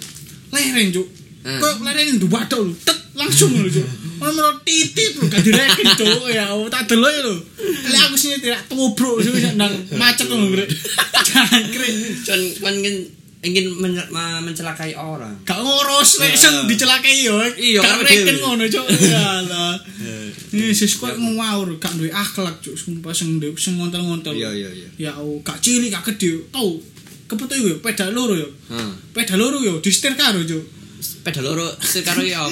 Speaker 1: Lereng, Cuk.
Speaker 2: Hmm.
Speaker 1: Kok lereng nduwatok lho. Tek langsung lho, Cuk. Ono mero titit lho, gak direken, Cuk. Ya, Allah, tak delok ya, lho. Kali aku sini tidak tubruk sih nang macet lho, Grek. (laughs) Jangkrik.
Speaker 2: (coughs) Cuman cuman ingin ingin men- ma- mencelakai orang.
Speaker 1: gak ngurus nek sing dicelakai yo
Speaker 2: Iya,
Speaker 1: gak
Speaker 2: karena
Speaker 1: reken
Speaker 2: dhewe.
Speaker 1: ngono cuk ya lah
Speaker 2: Eh,
Speaker 1: Yesus kuwi ngawur gak duwe akhlak cuk sumpah sing ndek sing ngontel-nontel
Speaker 2: Iya, iya, iya.
Speaker 1: ya Allah, gak cilik gak gede tau kepetuk yo peda loro yo
Speaker 2: Heeh.
Speaker 1: peda loro yo distir karo cuk (laughs)
Speaker 2: Sepeda loro sing karo ya apa?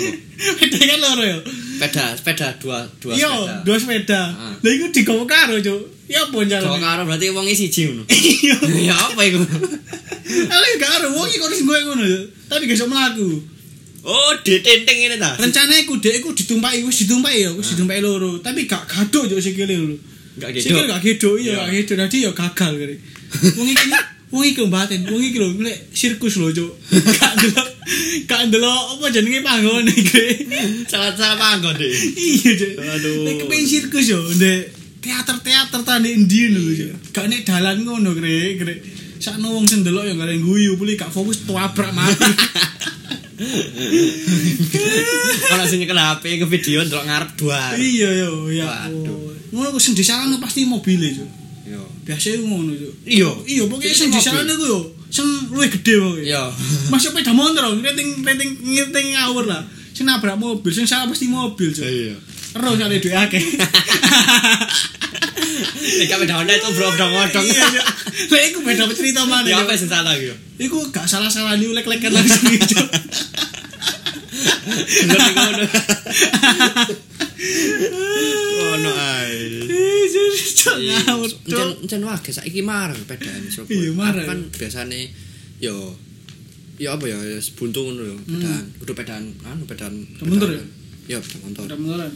Speaker 1: peda kan loro yo
Speaker 2: Sepeda, sepeda dua dua
Speaker 1: yo
Speaker 2: sepeda.
Speaker 1: dua sepeda
Speaker 2: Ah.
Speaker 1: lha iku digowo karo cuk ya apa
Speaker 2: Dua
Speaker 1: carane
Speaker 2: karo berarti wong siji ngono.
Speaker 1: (laughs)
Speaker 2: (laughs)
Speaker 1: iya
Speaker 2: Ya apa iku?
Speaker 1: ale gak karo wong iki kok sing gue ngono yo tapi gak iso mlaku
Speaker 2: Oh, ditenteng ini ta.
Speaker 1: rencananya iku dhek iku ditumpaki wis ditumpaki ya
Speaker 2: Ah.
Speaker 1: wis ditumpaki loro tapi gak gaduh yo sikile lho
Speaker 2: Enggak gitu.
Speaker 1: sikile gak gedok iya
Speaker 2: Iya.
Speaker 1: gak gedok tadi yo gagal kali wong iki wong iki mbaten wong iki lho ngeliat sirkus lho cuk gak ndelok gak ndelok apa jenenge panggon iki
Speaker 2: (laughs) Salah-salah panggon deh.
Speaker 1: (laughs) iya cuk
Speaker 2: Aduh.
Speaker 1: nek kepen sirkus yo ndek teater-teater tani endi lho cuk gak nek dalan ngono krek krek sakno wong sing ndelok yo gak ada yang guyu puli gak fokus tuabrak
Speaker 2: (laughs)
Speaker 1: mati
Speaker 2: Kalau sing nyekel HP ke video ndelok ngarep dua.
Speaker 1: iya yo ya
Speaker 2: Waduh.
Speaker 1: ampun. ngono ku sing disalahno pasti mobile cuk
Speaker 2: Yo.
Speaker 1: biasa iku ngono cuk
Speaker 2: Iya.
Speaker 1: iya pokoknya
Speaker 2: Jadi
Speaker 1: sing
Speaker 2: mobil.
Speaker 1: disalahno iku yo sing luwih gede pokoke
Speaker 2: Yo.
Speaker 1: masuk sepeda motor rating rating ngiting ngawur lah sing nabrak mobil sing salah pasti mobil cuk
Speaker 2: (laughs) Iya.
Speaker 1: terus kali duwe
Speaker 2: (laughs)
Speaker 1: akeh
Speaker 2: Nek kabeh Honda itu brodong-odong.
Speaker 1: iya
Speaker 2: (laughs)
Speaker 1: yo lha iku beda cerita mana
Speaker 2: Ya
Speaker 1: Cuk.
Speaker 2: apa sing salah iku?
Speaker 1: iku gak salah-salah niku lek-lekan langsung cuk
Speaker 2: (laughs) Bener iku ngono.
Speaker 1: Oh,
Speaker 2: Ono ae.
Speaker 1: Cuk, ngawur cuk
Speaker 2: Encen encen wae saiki marang bedaan sopo.
Speaker 1: Iya, marah.
Speaker 2: Aku Kan biasane yo yo apa ya ya sebuntu ngono
Speaker 1: Hmm.
Speaker 2: yo bedaan. Kudu bedaan anu bedaan.
Speaker 1: Tementur
Speaker 2: bedaan. Yo bedaan motor.
Speaker 1: Udah (clears throat) meneran.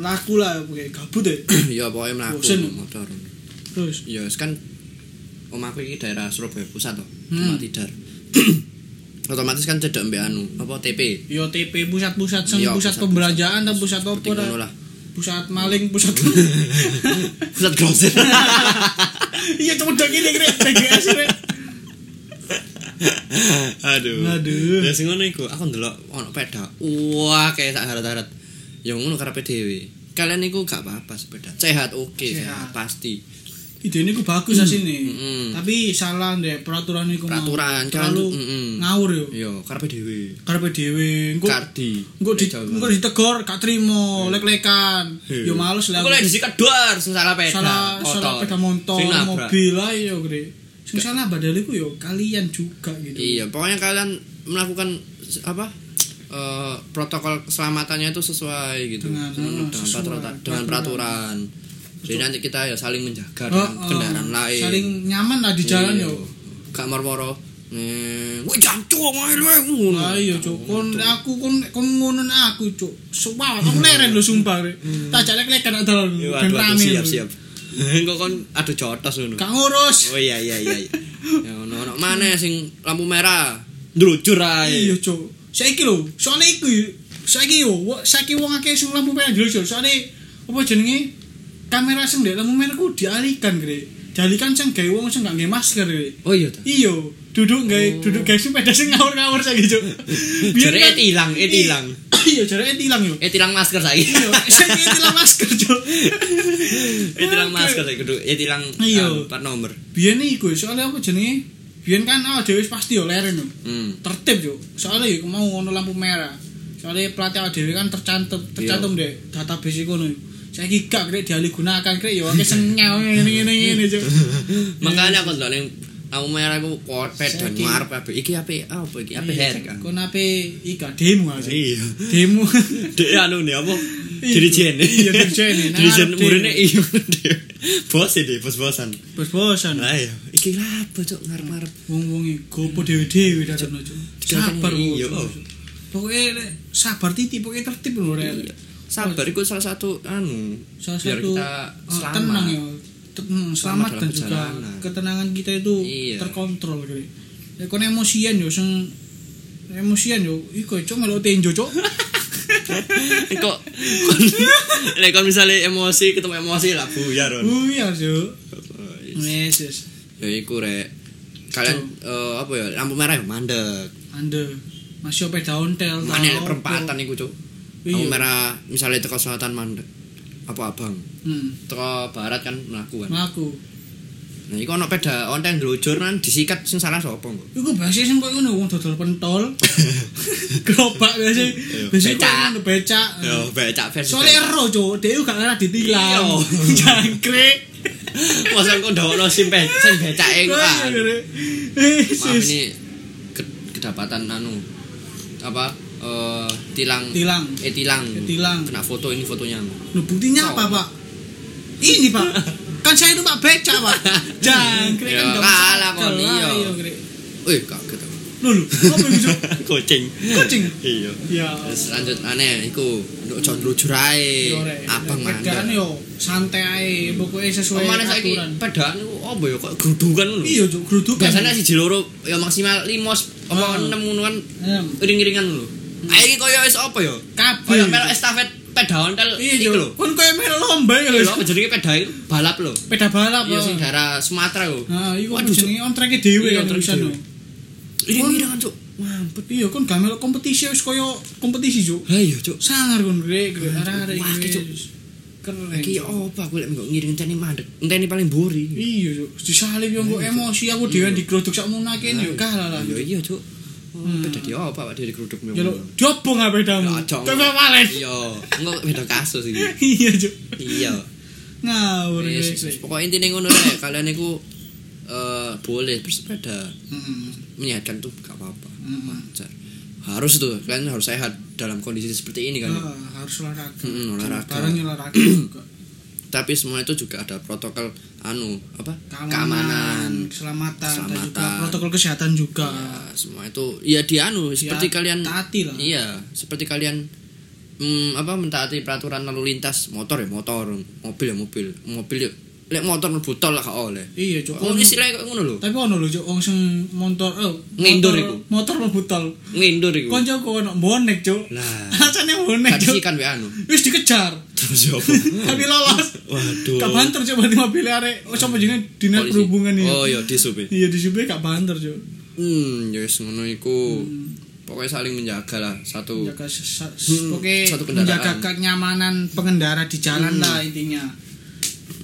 Speaker 1: Melaku lah pokoknya gabut ya
Speaker 2: (clears throat) Yo pokoke mlaku
Speaker 1: Bosen.
Speaker 2: motor.
Speaker 1: terus
Speaker 2: Yo wis kan omahku iki daerah Surabaya pusat to.
Speaker 1: Hmm.
Speaker 2: Cuma tidar. (clears throat) Otomatis kan cedek mbek anu apa TP.
Speaker 1: Yo TP pusat-pusat sing
Speaker 2: Iya,
Speaker 1: pusat
Speaker 2: pusat-pusat.
Speaker 1: pembelanjaan atau pusat
Speaker 2: Seperti
Speaker 1: apa
Speaker 2: ngono
Speaker 1: dah.
Speaker 2: lah. (laughs)
Speaker 1: Pusat maling, pusat. (laughs)
Speaker 2: Pusat grosir.
Speaker 1: Iya cuma dong ini kira PGS kira.
Speaker 2: (laughs) Aduh.
Speaker 1: Aduh.
Speaker 2: Lah sing ngono iku aku ndelok ono peda. Wah, kayak sak harat-harat. Ya ngono karepe dhewe. Kalian iku gak apa-apa sepeda. Sehat oke,
Speaker 1: Sehat.
Speaker 2: sehat. pasti.
Speaker 1: Ide ini ku bagus asine.
Speaker 2: Mm-mm.
Speaker 1: Tapi salah deh peraturan ini ku mau.
Speaker 2: Hmm, Peraturan, kan,
Speaker 1: terlalu
Speaker 2: mm-mm.
Speaker 1: ngawur yo.
Speaker 2: Yo, karepe dhewe.
Speaker 1: Karepe dhewe engko
Speaker 2: Kardi.
Speaker 1: engko di
Speaker 2: Jauh
Speaker 1: engko
Speaker 2: banget.
Speaker 1: ditegor gak trimo, lek-lekan. Yo males lah.
Speaker 2: Hmm. Engko lek disikat dor sing salah peda.
Speaker 1: Salah salah
Speaker 2: kotor.
Speaker 1: peda motor,
Speaker 2: Sing nabrak.
Speaker 1: mobil lah yo kira. Sing salah badal iku yo kalian juga gitu.
Speaker 2: Iya, pokoknya kalian melakukan se- apa? eh, protokol keselamatannya itu sesuai gitu
Speaker 1: Dengan,
Speaker 2: dengan,
Speaker 1: ah, sesuai.
Speaker 2: peraturan, dengan peraturan. Jadi nanti kita ya saling menjaga
Speaker 1: Oh,
Speaker 2: dengan kendaraan
Speaker 1: oh.
Speaker 2: lain.
Speaker 1: Saling nyaman lah di jalan
Speaker 2: Iya.
Speaker 1: yo.
Speaker 2: Gak moro-moro. Eh, wih jancuk ae lu. ngono.
Speaker 1: Ayo cuk, Ah, iya, kon aku kon kon ngonon aku cuk. Sumpah, aku leren lho sumpah. Rek. Tak jale klekan nak dalan.
Speaker 2: Hmm. Iya,
Speaker 1: Ben
Speaker 2: Waduh, waduh,
Speaker 1: rame.
Speaker 2: siap
Speaker 1: lho.
Speaker 2: siap. (laughs) Engko kon aduh jotos ngono.
Speaker 1: Gak ngurus.
Speaker 2: Oh iya iya iya. iya. (laughs) Ya ono ono mana sing lampu merah. Ndlucur ae.
Speaker 1: Iya cuk. Saiki lho, soalnya iku saiki yo, wo- saiki wong akeh sing lampu merah dulu cuk. Soale apa jenenge? Kamera sing ndek lampu merah ku dialihkan gre. Dialihkan sing gawe wong sing gak nggae masker gre.
Speaker 2: Oh iya ta.
Speaker 1: Iyo, duduk nggak duduk guys sepeda sing ngawur-ngawur saiki
Speaker 2: (laughs)
Speaker 1: cuk Biyen
Speaker 2: Jarake tilang, eh, tilang.
Speaker 1: (laughs) iya jarake tilang yo
Speaker 2: eh tilang masker saiki (laughs)
Speaker 1: iya saiki tilang masker cuk
Speaker 2: eh tilang masker saiki kudu eh tilang
Speaker 1: Iya.
Speaker 2: anu, plat nomor
Speaker 1: biyen iku soalnya apa jenenge biyen kan ah dhewe pasti yo leren yo
Speaker 2: hmm
Speaker 1: tertib yo soalnya yo mau ono lampu merah soalnya pelatih dhewe kan tercantum tercantum deh database iku ngono saiki gak krek dialihgunakan krek yo akeh senyal ngene ngene ngene
Speaker 2: (laughs)
Speaker 1: cuk
Speaker 2: makanya aku ndelok ning aku merah aku kopet dan
Speaker 1: Saiki.
Speaker 2: ngarep apa iki apa eh, apa iki apa hair kan
Speaker 1: kon ape ika demo aja
Speaker 2: iya
Speaker 1: demo (laughs)
Speaker 2: Dek anu nih apa?
Speaker 1: Iya.
Speaker 2: Dirijen.
Speaker 1: Iya, dirijen. Nah,
Speaker 2: Dirijen
Speaker 1: Dek.
Speaker 2: murine iya. Dek. Bos ya, Dek, bos-bosan.
Speaker 1: bos-bosan
Speaker 2: Lah iya, iki lah apa cok ngarep-ngarep.
Speaker 1: wong-wong iki gopo dhewe-dhewe dadekno cuk sabar
Speaker 2: Dikatakan,
Speaker 1: iya
Speaker 2: iya.
Speaker 1: pokoke lek sabar titi pokoke tertib lho rek
Speaker 2: Sabar iku salah satu anu
Speaker 1: salah
Speaker 2: biar
Speaker 1: satu
Speaker 2: kita
Speaker 1: eh,
Speaker 2: selamat.
Speaker 1: tenang ya Te- hmm, selamat
Speaker 2: Selamat dalam
Speaker 1: dan juga
Speaker 2: perjalanan.
Speaker 1: ketenangan kita itu
Speaker 2: Iya.
Speaker 1: terkontrol jadi ya kon emosian yo sing emosian yo iku cok melu tenjo
Speaker 2: (laughs)
Speaker 1: cok
Speaker 2: Eh, Kok (laughs) kon lek kon misale emosi ketemu emosi lah
Speaker 1: (laughs)
Speaker 2: buyar. Ron.
Speaker 1: oh iya cok yes yes
Speaker 2: Ya iku rek. Kalian eh, apa ya lampu merah ya mandek.
Speaker 1: anda masih ope daun tel
Speaker 2: Mana lek perempatan iku cok. Lampu
Speaker 1: iya
Speaker 2: merah misalnya teko selatan mandek. Apa abang?
Speaker 1: hmm,
Speaker 2: Teko barat kan melakukan.
Speaker 1: melaku
Speaker 2: Nah, iku ono peda onten ndelujur kan disikat sing salah sapa,
Speaker 1: (laughs)
Speaker 2: Mbok?
Speaker 1: Iku biasa sing koyo ngono wong dodol pentol. (laughs) Gerobak biasa. Biasa koyo
Speaker 2: becak.
Speaker 1: ngono becak.
Speaker 2: Yo, becak versi.
Speaker 1: Soalnya ero cuk, dhewe gak lara ditilang.
Speaker 2: Iya.
Speaker 1: (laughs) Jangkrik.
Speaker 2: (laughs) masa kok ndokno sim be- sim becake kok. ah.
Speaker 1: Eh,
Speaker 2: Maaf
Speaker 1: sis.
Speaker 2: ini ke- kedapatan anu apa eh tilang
Speaker 1: Tilang.
Speaker 2: eh tilang
Speaker 1: Eh, tilang.
Speaker 2: kena foto ini fotonya
Speaker 1: Loh, buktinya apa,
Speaker 2: Oh.
Speaker 1: Pak? Ini, Pak. Kan saya itu Pak becak,
Speaker 2: (laughs)
Speaker 1: Pak. Jangkrik kan
Speaker 2: Yo,
Speaker 1: gak
Speaker 2: kalah
Speaker 1: masuk akal.
Speaker 2: kon, iya.
Speaker 1: Ah, Krik.
Speaker 2: eh kaget aku.
Speaker 1: Loh, loh, apa iku
Speaker 2: (laughs)
Speaker 1: cuk?
Speaker 2: kucing
Speaker 1: Kucing?
Speaker 2: iya
Speaker 1: Ya.
Speaker 2: terus lanjut aneh iku ndok ojo ndelujur ae
Speaker 1: yo, Rek.
Speaker 2: abang
Speaker 1: Bedaan
Speaker 2: mandek
Speaker 1: yo santai ae, pokoke sesuai
Speaker 2: Kemana saiki
Speaker 1: aturan.
Speaker 2: pedaan iku apa ya kok gerudungan ngono
Speaker 1: Iya, cuk, grudukan.
Speaker 2: biasanya siji loro ya maksimal 5 apa
Speaker 1: Ah. Hmm.
Speaker 2: 6 ngono kan
Speaker 1: Em,
Speaker 2: iring-iringan lho. Ae iki koyo wis apa Oh, ya?
Speaker 1: kabeh.
Speaker 2: Koyo melu estafet peda ontel iki
Speaker 1: Iya,
Speaker 2: lho.
Speaker 1: Cuk. Kon koyo melu lomba ya,
Speaker 2: Lho
Speaker 1: lho.
Speaker 2: apa jenenge peda iku? balap lho.
Speaker 1: Sepeda balap.
Speaker 2: Iya
Speaker 1: ah.
Speaker 2: sing daerah Sumatera yo.
Speaker 1: Nah, iku
Speaker 2: Waduh, Cuk.
Speaker 1: jenenge on track dhewe kan
Speaker 2: Iya, on track
Speaker 1: urusan.
Speaker 2: dhewe. Iring-iringan cuk.
Speaker 1: Mampet iya kon gak melok kompetisi wis koyo kompetisi juk.
Speaker 2: Ha iya cuk.
Speaker 1: Sangar kon grek grek
Speaker 2: Wah,
Speaker 1: arah-arah
Speaker 2: Cuk. Wah,
Speaker 1: iki.
Speaker 2: iki, Cuk.
Speaker 1: wis. Keren.
Speaker 2: Iki oh.
Speaker 1: Cuk.
Speaker 2: apa aku lek mbok ngiring enteni mandek. Enteni paling buri.
Speaker 1: Iya juk, disalip yo engko emosi aku dhewe diglodok sak munaken yo kalah lah.
Speaker 2: Iya iya cuk. Oh, Peda di apa Pak dari kerudung
Speaker 1: Yo eh. lo diobong apa
Speaker 2: Ya,
Speaker 1: damu. Tapi malen.
Speaker 2: Iya, enggak beda kasus iki.
Speaker 1: Iya juk.
Speaker 2: Iya.
Speaker 1: Ngawur
Speaker 2: Wis, wis.
Speaker 1: grek.
Speaker 2: Pokoknya intinya ngono deh, kalian iku eh boleh bersepeda.
Speaker 1: Heeh.
Speaker 2: menyehatkan tuh gak apa-apa
Speaker 1: Mm.
Speaker 2: wajar harus tuh kalian harus sehat dalam kondisi seperti ini kan
Speaker 1: Ah, harus olahraga.
Speaker 2: Mm, olahraga.
Speaker 1: Barang
Speaker 2: (clears throat)
Speaker 1: olahraga juga.
Speaker 2: tapi semua itu juga ada protokol anu apa
Speaker 1: Keamanan, keselamatan, dan juga
Speaker 2: keselamatan.
Speaker 1: protokol kesehatan juga.
Speaker 2: Ya, semua itu ya dianu seperti kalian
Speaker 1: Iya. taati lah.
Speaker 2: iya seperti kalian mm, apa mentaati peraturan lalu lintas motor ya motor mobil ya mobil mobil ya lek motor mlebu tol lah gak oleh
Speaker 1: Iya, Cuk.
Speaker 2: oh istilahnya kayak ngono lho
Speaker 1: Tapi ono lho cuk wong sing motor eh motor-
Speaker 2: Ngindur iku.
Speaker 1: Motor mlebu tol.
Speaker 2: ngindur iku Hmm.
Speaker 1: Konco ku ono bonek cuk.
Speaker 2: Lah.
Speaker 1: (laughs) Alasane bonek
Speaker 2: gak
Speaker 1: cuk.
Speaker 2: disikan wae
Speaker 1: (laughs)
Speaker 2: anu
Speaker 1: Wis dikejar.
Speaker 2: terus ya apa?
Speaker 1: Tapi lolos.
Speaker 2: waduh
Speaker 1: Gak banter cuk berarti mobil arek. Oh sampe jenenge dinas
Speaker 2: Polisi.
Speaker 1: perhubungan iki.
Speaker 2: oh iya disup ya
Speaker 1: Iya di sini gak banter cuk.
Speaker 2: Hmm, ya wis ngono iku.
Speaker 1: Hmm.
Speaker 2: Pokoknya saling menjaga lah satu.
Speaker 1: Jaga sesa-
Speaker 2: Hmm,
Speaker 1: oke
Speaker 2: satu kendaraan. Hmm.
Speaker 1: menjaga kenyamanan pengendara di jalan lah intinya.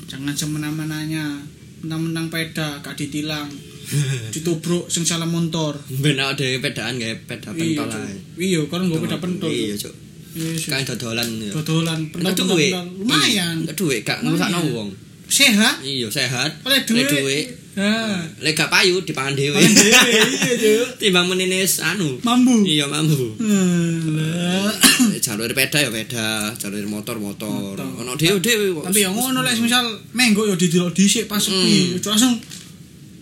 Speaker 1: Jangan semena-menanya menang-menang peda gak ditilang.
Speaker 2: (laughs)
Speaker 1: Ditubruk sing salah motor.
Speaker 2: Ben ada pedaan gak
Speaker 1: Iya,
Speaker 2: peda pentol
Speaker 1: Cuk.
Speaker 2: ae.
Speaker 1: Iya, kan gak peda pentol.
Speaker 2: Iya, Cuk.
Speaker 1: Iya, Cuk.
Speaker 2: Kan dodolan ya.
Speaker 1: dodolan
Speaker 2: Enggak
Speaker 1: pentol
Speaker 2: duwe.
Speaker 1: pentol lumayan
Speaker 2: Enggak duwe gak ngrusakno
Speaker 1: Lumayan.
Speaker 2: wong.
Speaker 1: sehat
Speaker 2: Iya, sehat.
Speaker 1: oleh
Speaker 2: Lek duwe.
Speaker 1: duit ha
Speaker 2: Lek gak payu dipangan dhewe.
Speaker 1: Pangan dhewe, iya,
Speaker 2: (laughs)
Speaker 1: Cuk.
Speaker 2: Timbang meninis anu.
Speaker 1: mambu Eh,
Speaker 2: Iya, mambu.
Speaker 1: Alah.
Speaker 2: Lek Jalur peda ya peda, jalur motor motor.
Speaker 1: Motor.
Speaker 2: Ono dhewe-dhewe kok.
Speaker 1: tapi yang ngono lek misal menggo yo didelok dhisik pas
Speaker 2: Hmm.
Speaker 1: sepi Cuk, langsung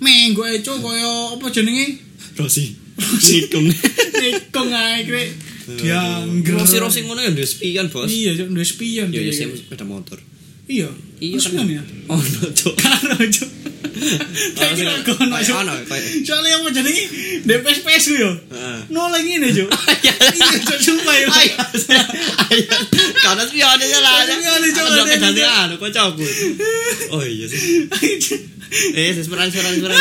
Speaker 1: menggo e cuk kaya apa jenenge
Speaker 2: (laughs) Rosi. Sikung.
Speaker 1: (laughs) nikung ae krek diangger
Speaker 2: Rosi-rosi ngono ya duwe spion, Bos.
Speaker 1: iya cuk duwe spion
Speaker 2: Yo
Speaker 1: dia,
Speaker 2: ya
Speaker 1: Krek.
Speaker 2: sing sepeda motor.
Speaker 1: iya Kok
Speaker 2: Iya, kan.
Speaker 1: spion ya (laughs)
Speaker 2: Ono, Cuk.
Speaker 1: karo
Speaker 2: (laughs)
Speaker 1: cuk
Speaker 2: Ono,
Speaker 1: Kira-kira
Speaker 2: Cuk.
Speaker 1: kono, Cuk.
Speaker 2: Ono, koyo-
Speaker 1: soalnya apa jenenge DPS-PS yo
Speaker 2: Heeh.
Speaker 1: nolak ngene
Speaker 2: (laughs)
Speaker 1: cuk iya cuk sumpah yo
Speaker 2: Ayo, ayo. Karena spionnya salah.
Speaker 1: Karena spionnya salah.
Speaker 2: Aduh, oke, nanti anu, kok cabut. Oh iya sih. Eh, seperan seperan seperan.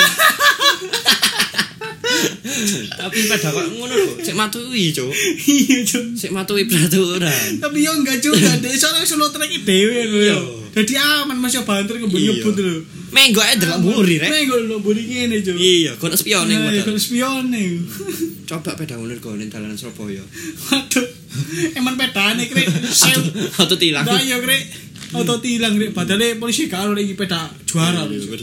Speaker 2: Tapi pada kok ngono lho, sik matui, Cuk.
Speaker 1: Iya, Cuk.
Speaker 2: Sik matui peraturan.
Speaker 1: Tapi yo enggak
Speaker 2: (laughs)
Speaker 1: juga, dek soalnya solo trek dhewe lho yo. Dadi aman Mas yo banter ngebut-ngebut lho.
Speaker 2: Menggo ae delok muri rek.
Speaker 1: Nek lho mburi ngene, Cuk.
Speaker 2: Iya, kono spione
Speaker 1: Nah,
Speaker 2: padahal.
Speaker 1: kalau spione.
Speaker 2: Coba peda ulur golin dalanan Surabaya.
Speaker 1: (laughs) Waduh. Eman pedane krek. Sewu.
Speaker 2: Atau tilang.
Speaker 1: Nah, yo krek. Auto tilang krek. Padahal polisi karo iki peda juara lho. Cuk.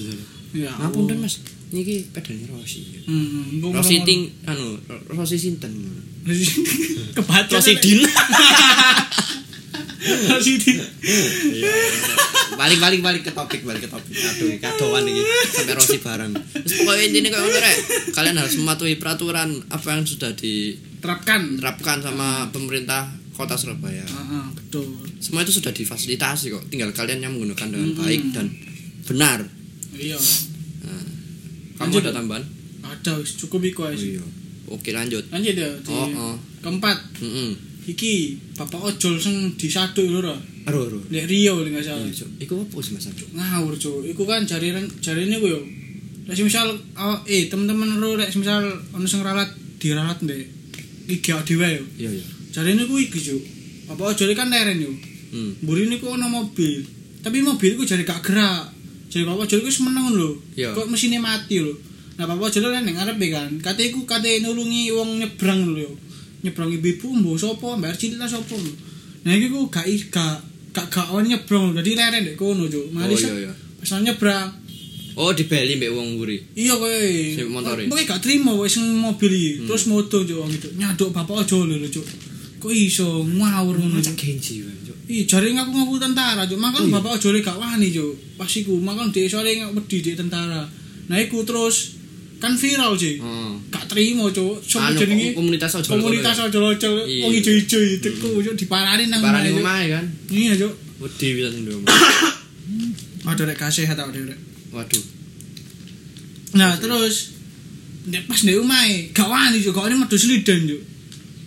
Speaker 1: Ya.
Speaker 2: Ngapunten, Mas. Niki pedane Rosi.
Speaker 1: Hmm, ngomong-
Speaker 2: Rosi
Speaker 1: (laughs)
Speaker 2: ting anu, Rosi sinten?
Speaker 1: Kebaca.
Speaker 2: Rosidin.
Speaker 1: Rosidin.
Speaker 2: (laughs) Iya, balik balik balik ke topik balik ke topik aduh kadoan ini sampai rosi bareng terus pokoknya intinya kayak ngono rek kalian harus mematuhi peraturan apa yang sudah diterapkan
Speaker 1: Terapkan.
Speaker 2: sama pemerintah kota Surabaya
Speaker 1: Heeh, ah, betul.
Speaker 2: semua itu sudah difasilitasi kok tinggal kalian yang menggunakan dengan baik dan benar
Speaker 1: Iya.
Speaker 2: nah, kamu
Speaker 1: Lanjut.
Speaker 2: ada tambahan
Speaker 1: Ada wis cukup iku
Speaker 2: oh,
Speaker 1: wis.
Speaker 2: iya oke lanjut
Speaker 1: Lanjut ya. di-
Speaker 2: Oh, oh.
Speaker 1: Keempat,
Speaker 2: Mm-mm.
Speaker 1: iki Bapak Ojol sing disaduk lho Ra.
Speaker 2: aduh aduh
Speaker 1: Lek Rio lek nggak salah.
Speaker 2: Iya, Cuk. Iku apa sih Mas Cuk?
Speaker 1: Ngawur, Cuk. Iku kan jariran jarine ku yo. Lek misal aw- eh teman-teman ro lek misal ono sing ralat diralat ndek iki awak dhewe yo.
Speaker 2: Iya, iya.
Speaker 1: Jarine ku iki, Cuk. Bapak Ojol kan leren yo.
Speaker 2: Hmm.
Speaker 1: Mburi niku ono mobil. Tapi mobil iku jare gak gerak. Jadi Bapak Ojol iku wis meneng lho.
Speaker 2: Iya.
Speaker 1: Kok mesinnya mati lho. Nah Bapak Ojol kan ning ngarepe kan. Kate iku kate nulungi wong nyebrang lho yo. Nyebrang ibu mbo sapa, Mbak Cinta sapa lho. Nah iki ku gak i- gak gak gak ono nyebrang. Dadi leren dek kono Cuk. Mari
Speaker 2: Oh,
Speaker 1: set,
Speaker 2: iya, iya.
Speaker 1: pas ono nyebrang.
Speaker 2: Oh, dibeli mbek wong nguri.
Speaker 1: Iya kowe.
Speaker 2: Si motore.
Speaker 1: Pokoke gak trimo wis mobil iki.
Speaker 2: Hmm.
Speaker 1: Terus moto Cuk wong itu. Nyaduk Bapak Ojol lho Cuk. Kok iso ngawur ngono Cuk.
Speaker 2: Genji. Cuk.
Speaker 1: Ih, jaring aku ngaku tentara, cuk. Makan bapak ojole gak wani, cuk. Pas iku makan dhek sore nggak wedi dhek tentara. Nah, iku terus kan viral sih.
Speaker 2: Heeh.
Speaker 1: Gak terima, cuk. Sopo
Speaker 2: Hmm. Oh. Anu,
Speaker 1: jenenge?
Speaker 2: komunitas ojol
Speaker 1: Komunitas
Speaker 2: kono ya?
Speaker 1: ojol-ojol
Speaker 2: Iya.
Speaker 1: wong ijo-ijo itu cuk diparani nang
Speaker 2: Barang
Speaker 1: omahe, Cuk.
Speaker 2: omahe kan.
Speaker 1: Iya, cuk.
Speaker 2: Wedi pisan ning omah.
Speaker 1: Ada rek kasih ta rek.
Speaker 2: Waduh.
Speaker 1: Nah, terus nek pas ndek omahe gak wani, cuk. Gak wani medu slidan, cuk.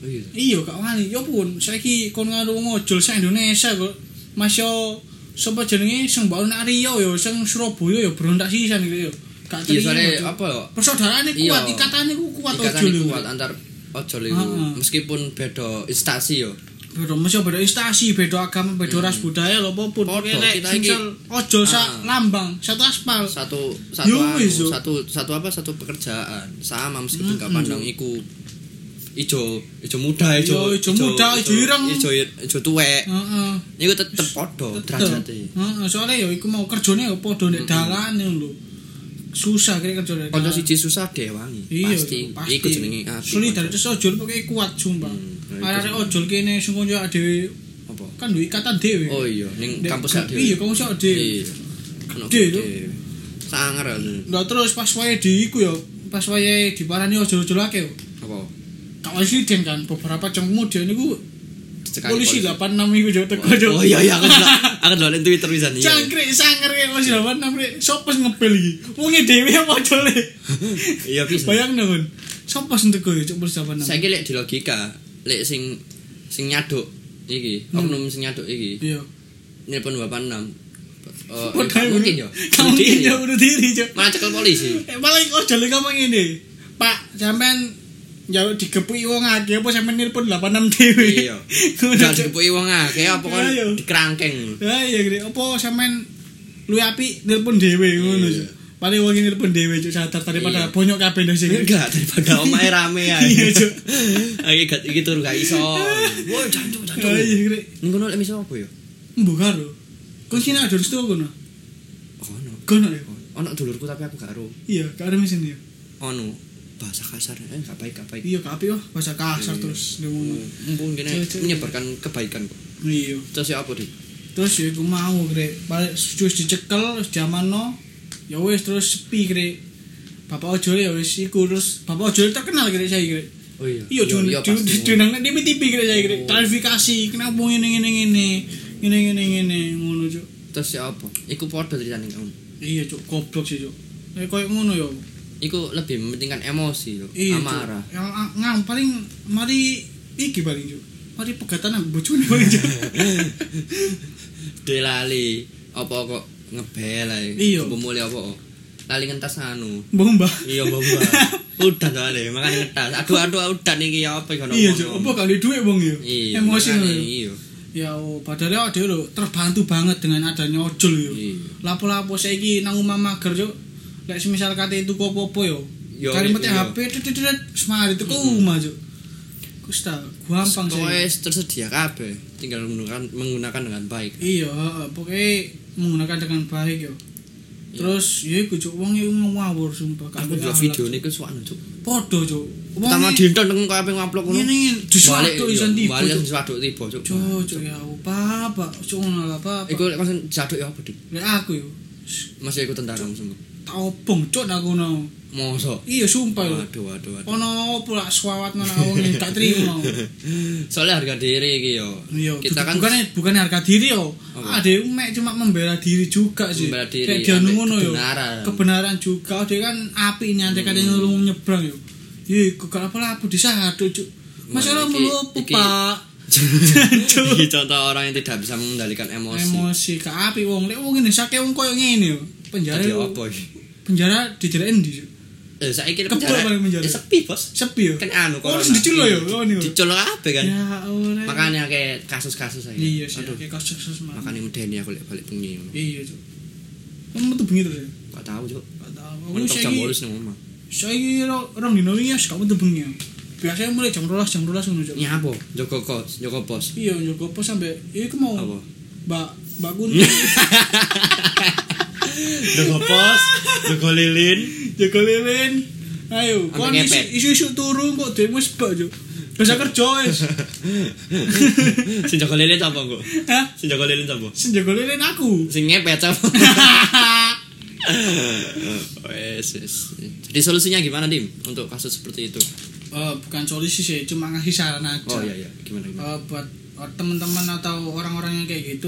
Speaker 2: Oh, iya.
Speaker 1: Iya gak wani. Ya pun saiki kon karo ngojol sak Indonesia kok. Mas yo sapa jenenge sing mbok nak Riau yo sing Surabaya yo berontak sisan gitu yo. Gak
Speaker 2: Iya,
Speaker 1: terima,
Speaker 2: soalnya
Speaker 1: Cuk.
Speaker 2: apa ya?
Speaker 1: Persaudaraane
Speaker 2: Iya.
Speaker 1: kuat, ikatane ku kuat
Speaker 2: Ikatan
Speaker 1: ojol
Speaker 2: iku
Speaker 1: yo.
Speaker 2: kuat antar ojol iku.
Speaker 1: Heeh.
Speaker 2: Meskipun beda instansi yo.
Speaker 1: Beda mesti beda instansi, beda agama, beda ras budaya lho apa pun.
Speaker 2: Podo,
Speaker 1: Pokoke nek
Speaker 2: Hmm. kita
Speaker 1: sing
Speaker 2: iki-
Speaker 1: sel- ojol sak
Speaker 2: Ah.
Speaker 1: lambang, satu aspal.
Speaker 2: Satu satu
Speaker 1: Yo,
Speaker 2: anu,
Speaker 1: wis, yo.
Speaker 2: satu satu apa satu pekerjaan. Sama meskipun gak pandang iku ijo ijo muda ijo
Speaker 1: Iya, ijo muda, ijo ireng.
Speaker 2: ijo ijo tuwek
Speaker 1: Heeh.
Speaker 2: iku tetep padha derajate
Speaker 1: Heeh, soalnya yo iku mau kerjane yo padha nek dalane lho. Susah kira kerja nek. dalan.
Speaker 2: kanca Hmm. siji susah dewangi
Speaker 1: Iya,
Speaker 2: pasti iku jenenge ati, kanca.
Speaker 1: solidaritas ojol pokoknya kuat sumpah hmm,
Speaker 2: Hmm,
Speaker 1: arek ojol kene sing konco dhewe
Speaker 2: apa
Speaker 1: kan duwe ikatan dhewe
Speaker 2: oh iya ning
Speaker 1: Dek,
Speaker 2: kampus
Speaker 1: gak-
Speaker 2: ade
Speaker 1: iya kampus sak dhewe Gede,
Speaker 2: gede
Speaker 1: lho.
Speaker 2: sangar lho.
Speaker 1: Lah terus pas wae di iku yo pas wae diparani ojol-ojol akeh yo
Speaker 2: apa
Speaker 1: kak insiden kan beberapa jam kemudian niku
Speaker 2: Dicekali
Speaker 1: polisi 86 iku yo teko yo
Speaker 2: Oh iya iya aku
Speaker 1: (laughs)
Speaker 2: (laughs) delok aku delok ning Twitter pisan iya.
Speaker 1: Jangkrik sangar kayak polisi 86 rek sapa sing ngepel iki wonge dhewe apa ojole
Speaker 2: (laughs) Iya pisan.
Speaker 1: bayangno kon sapa sing teko yo cuk polisi 86
Speaker 2: Saiki lek di logika, lek sing sing nyaduk iki,
Speaker 1: Hmm.
Speaker 2: oknum sing nyaduk iki,
Speaker 1: iya
Speaker 2: nelpon bapak enam. Eh,
Speaker 1: Padahal
Speaker 2: gak
Speaker 1: (laughs)
Speaker 2: mungkin yo.
Speaker 1: gak mungkin yo bunuh diri cuk
Speaker 2: Malah cekel polisi.
Speaker 1: Eh, malah kok jale ngomong ngene. Pak, sampean ya digepuki wong akeh apa sampean nelpon 86 dhewe.
Speaker 2: Iya.
Speaker 1: (laughs) Ngono,
Speaker 2: Jangan
Speaker 1: Cuk.
Speaker 2: dipuki wong akeh apa kon
Speaker 1: Iya, iya.
Speaker 2: dikerangkeng.
Speaker 1: Ya iya gede. Apa sampean lu api nelpon dhewe ngono.
Speaker 2: Iya.
Speaker 1: Cuk. Paling wong iki nelpon dhewe cuk sadar daripada
Speaker 2: Iya.
Speaker 1: bonyok kabeh ndek sini.
Speaker 2: Enggak daripada omahe rame ya.
Speaker 1: Iya, Cuk.
Speaker 2: Iki gak iki turu gak (laughs) iso. Woi, jancuk
Speaker 1: Ya iya
Speaker 2: jancuk.
Speaker 1: gede.
Speaker 2: Ning kono lek miso apa yo?
Speaker 1: Mbok karo. Kok sini ada restu kono?
Speaker 2: Ono.
Speaker 1: Kono ya.
Speaker 2: Ono dulurku tapi aku gak ero.
Speaker 1: Iya, gak ada mesin ya.
Speaker 2: Ono bahasa kasar eh gak baik gak baik.
Speaker 1: Iya, gak api wah bahasa kasar terus dia ngono.
Speaker 2: mumpung gini
Speaker 1: Cuk, cuk.
Speaker 2: menyebarkan kebaikan kok
Speaker 1: Iya.
Speaker 2: terus ya apa di
Speaker 1: terus ya aku mau kre balik terus dicekel terus zaman no ya wes terus sepi kre bapak ojol ya wes iku terus bapak ojol terkenal kre saya kre
Speaker 2: oh iya
Speaker 1: iya jun
Speaker 2: iya
Speaker 1: jun
Speaker 2: pasti. Oh.
Speaker 1: jun nang di TV kre saya kre klarifikasi kenapa ngene ngene ngene ngene ngene ngene ngono cuk
Speaker 2: terus ya apa iku podo ceritanya kamu
Speaker 1: iya cuk goblok sih cuk kayak koyo ngono ya
Speaker 2: iku lebih mementingkan emosi loh
Speaker 1: iya Cuk.
Speaker 2: amarah (laughs)
Speaker 1: yang ah, ngam paling mari iki paling cuk mari pegatan nang bojone paling
Speaker 2: (laughs)
Speaker 1: cuk
Speaker 2: delali apa kok ngebel ae
Speaker 1: Iya.
Speaker 2: pemuli apa kok lali ngentas anu
Speaker 1: Bomba.
Speaker 2: iya bomba (laughs) udah gak ada makanya ngetas aduh aduh udah nih ya apa yang
Speaker 1: (laughs) Iya, Cuk. Apa kali duit wong ya?
Speaker 2: iya
Speaker 1: Emosi
Speaker 2: makanya,
Speaker 1: lho.
Speaker 2: iya
Speaker 1: Ya, oh, padahal ada lho terbantu banget dengan adanya ojol yo.
Speaker 2: Iya.
Speaker 1: Lapo-lapo saiki nang omah mager, Cuk. Lek semisal kate tuku apa-apa yo.
Speaker 2: Yo,
Speaker 1: Kali mete
Speaker 2: iya.
Speaker 1: HP tutututet semari tuku omah, Cuk. Kusta, gampang
Speaker 2: Pokoknya
Speaker 1: sih.
Speaker 2: tersedia kabeh, tinggal menggunakan menggunakan dengan baik.
Speaker 1: Iya, heeh, pokoknya menggunakan dengan baik yo. Terus ya iku Cuk, wong iku ngawur sumpah. Gak duwe
Speaker 2: Aku juga
Speaker 1: akhlak,
Speaker 2: video
Speaker 1: Cuk.
Speaker 2: niku suwan cuk.
Speaker 1: Podo, Cuk. Wong
Speaker 2: Pertama
Speaker 1: ini-
Speaker 2: dinten neng koyo ape ngupload ngono.
Speaker 1: Ini disuatu
Speaker 2: Balik,
Speaker 1: isan
Speaker 2: iya,
Speaker 1: tiba.
Speaker 2: Balik
Speaker 1: Cuk.
Speaker 2: suwaduk tiba cuk.
Speaker 1: Cocok ya apa apa, cocok ngono lah apa.
Speaker 2: Iku lek pancen jaduk ya apa dik?
Speaker 1: Lek aku yo
Speaker 2: Masih iku tentara semua.
Speaker 1: tak obong cok aku no.
Speaker 2: Mosok.
Speaker 1: Iya sumpah lho.
Speaker 2: Waduh waduh waduh.
Speaker 1: Ono opo lak swawat nang wong yang tak terima.
Speaker 2: (laughs) Soalnya harga diri iki yo.
Speaker 1: Iya,
Speaker 2: Kita kan
Speaker 1: bukan bukan harga diri yo.
Speaker 2: Apa?
Speaker 1: Ade mek cuma membela diri juga sih.
Speaker 2: Membela diri,
Speaker 1: Kayak dia
Speaker 2: ade
Speaker 1: ngono yo.
Speaker 2: kebenaran. Hmm.
Speaker 1: Kebenaran juga. Ade kan api nyantai kate nulung nyebrang yo. Iya, kok gak apa-apa disadu cuk. Masalah
Speaker 2: Wah, iki-
Speaker 1: mulu
Speaker 2: iki-
Speaker 1: Pak.
Speaker 2: (laughs) Iki contoh orang yang tidak bisa mengendalikan emosi.
Speaker 1: emosi ke api wong lek wong ngene sake wong koyo ngene yo penjara
Speaker 2: Jadi
Speaker 1: yo-
Speaker 2: apa iki?
Speaker 1: penjara dijerain di Cuk.
Speaker 2: Eh saiki
Speaker 1: Kebol paling penjara.
Speaker 2: Eh, sepi, Bos.
Speaker 1: sepi yo
Speaker 2: Kan anu
Speaker 1: oh harus diculo yo oh niku
Speaker 2: Diculo kabeh kan.
Speaker 1: ya oleh
Speaker 2: Makanya kayak kasus-kasus aja.
Speaker 1: iya sih
Speaker 2: Aduh.
Speaker 1: kayak kasus kasus
Speaker 2: makanya medeni aku lek balik bengi ngono.
Speaker 1: iya cuk kamu metu bengi terus ya
Speaker 2: Gak tau, Cuk.
Speaker 1: Gak tau. aku
Speaker 2: Mentok jam 8
Speaker 1: saiki
Speaker 2: nang omah.
Speaker 1: saiki ro- rong dino wingi wis gak metu bengi aku. biasanya mulai jam 12 jam 12 ngono cuk
Speaker 2: Nyapo? Jogo kos, jogo pos.
Speaker 1: iya njogo pos sampe iya, iku mau
Speaker 2: Apa?
Speaker 1: mbak
Speaker 2: (laughs)
Speaker 1: mbak kunti
Speaker 3: Jago pos, jago lilin.
Speaker 1: jaga lilin ayo
Speaker 2: Sampe
Speaker 1: kon isu
Speaker 2: ngepet.
Speaker 1: isu turu kok dhewe wis bak cuk Bisa kerja
Speaker 2: (laughs)
Speaker 1: wis.
Speaker 2: (laughs) Sing jogo lilin apa engko?
Speaker 1: Hah?
Speaker 2: Sing jogo lilin apa?
Speaker 1: Sing jaga lilin aku. (laughs)
Speaker 2: Sing ngepet apa? (laughs) Wes, wes. Jadi solusinya gimana, Dim? Untuk kasus seperti itu.
Speaker 1: Eh, bukan solusi sih, cuma ngasih saran aja.
Speaker 2: Oh iya iya, gimana gimana?
Speaker 1: Eh, buat eh, teman-teman atau orang-orang yang kayak gitu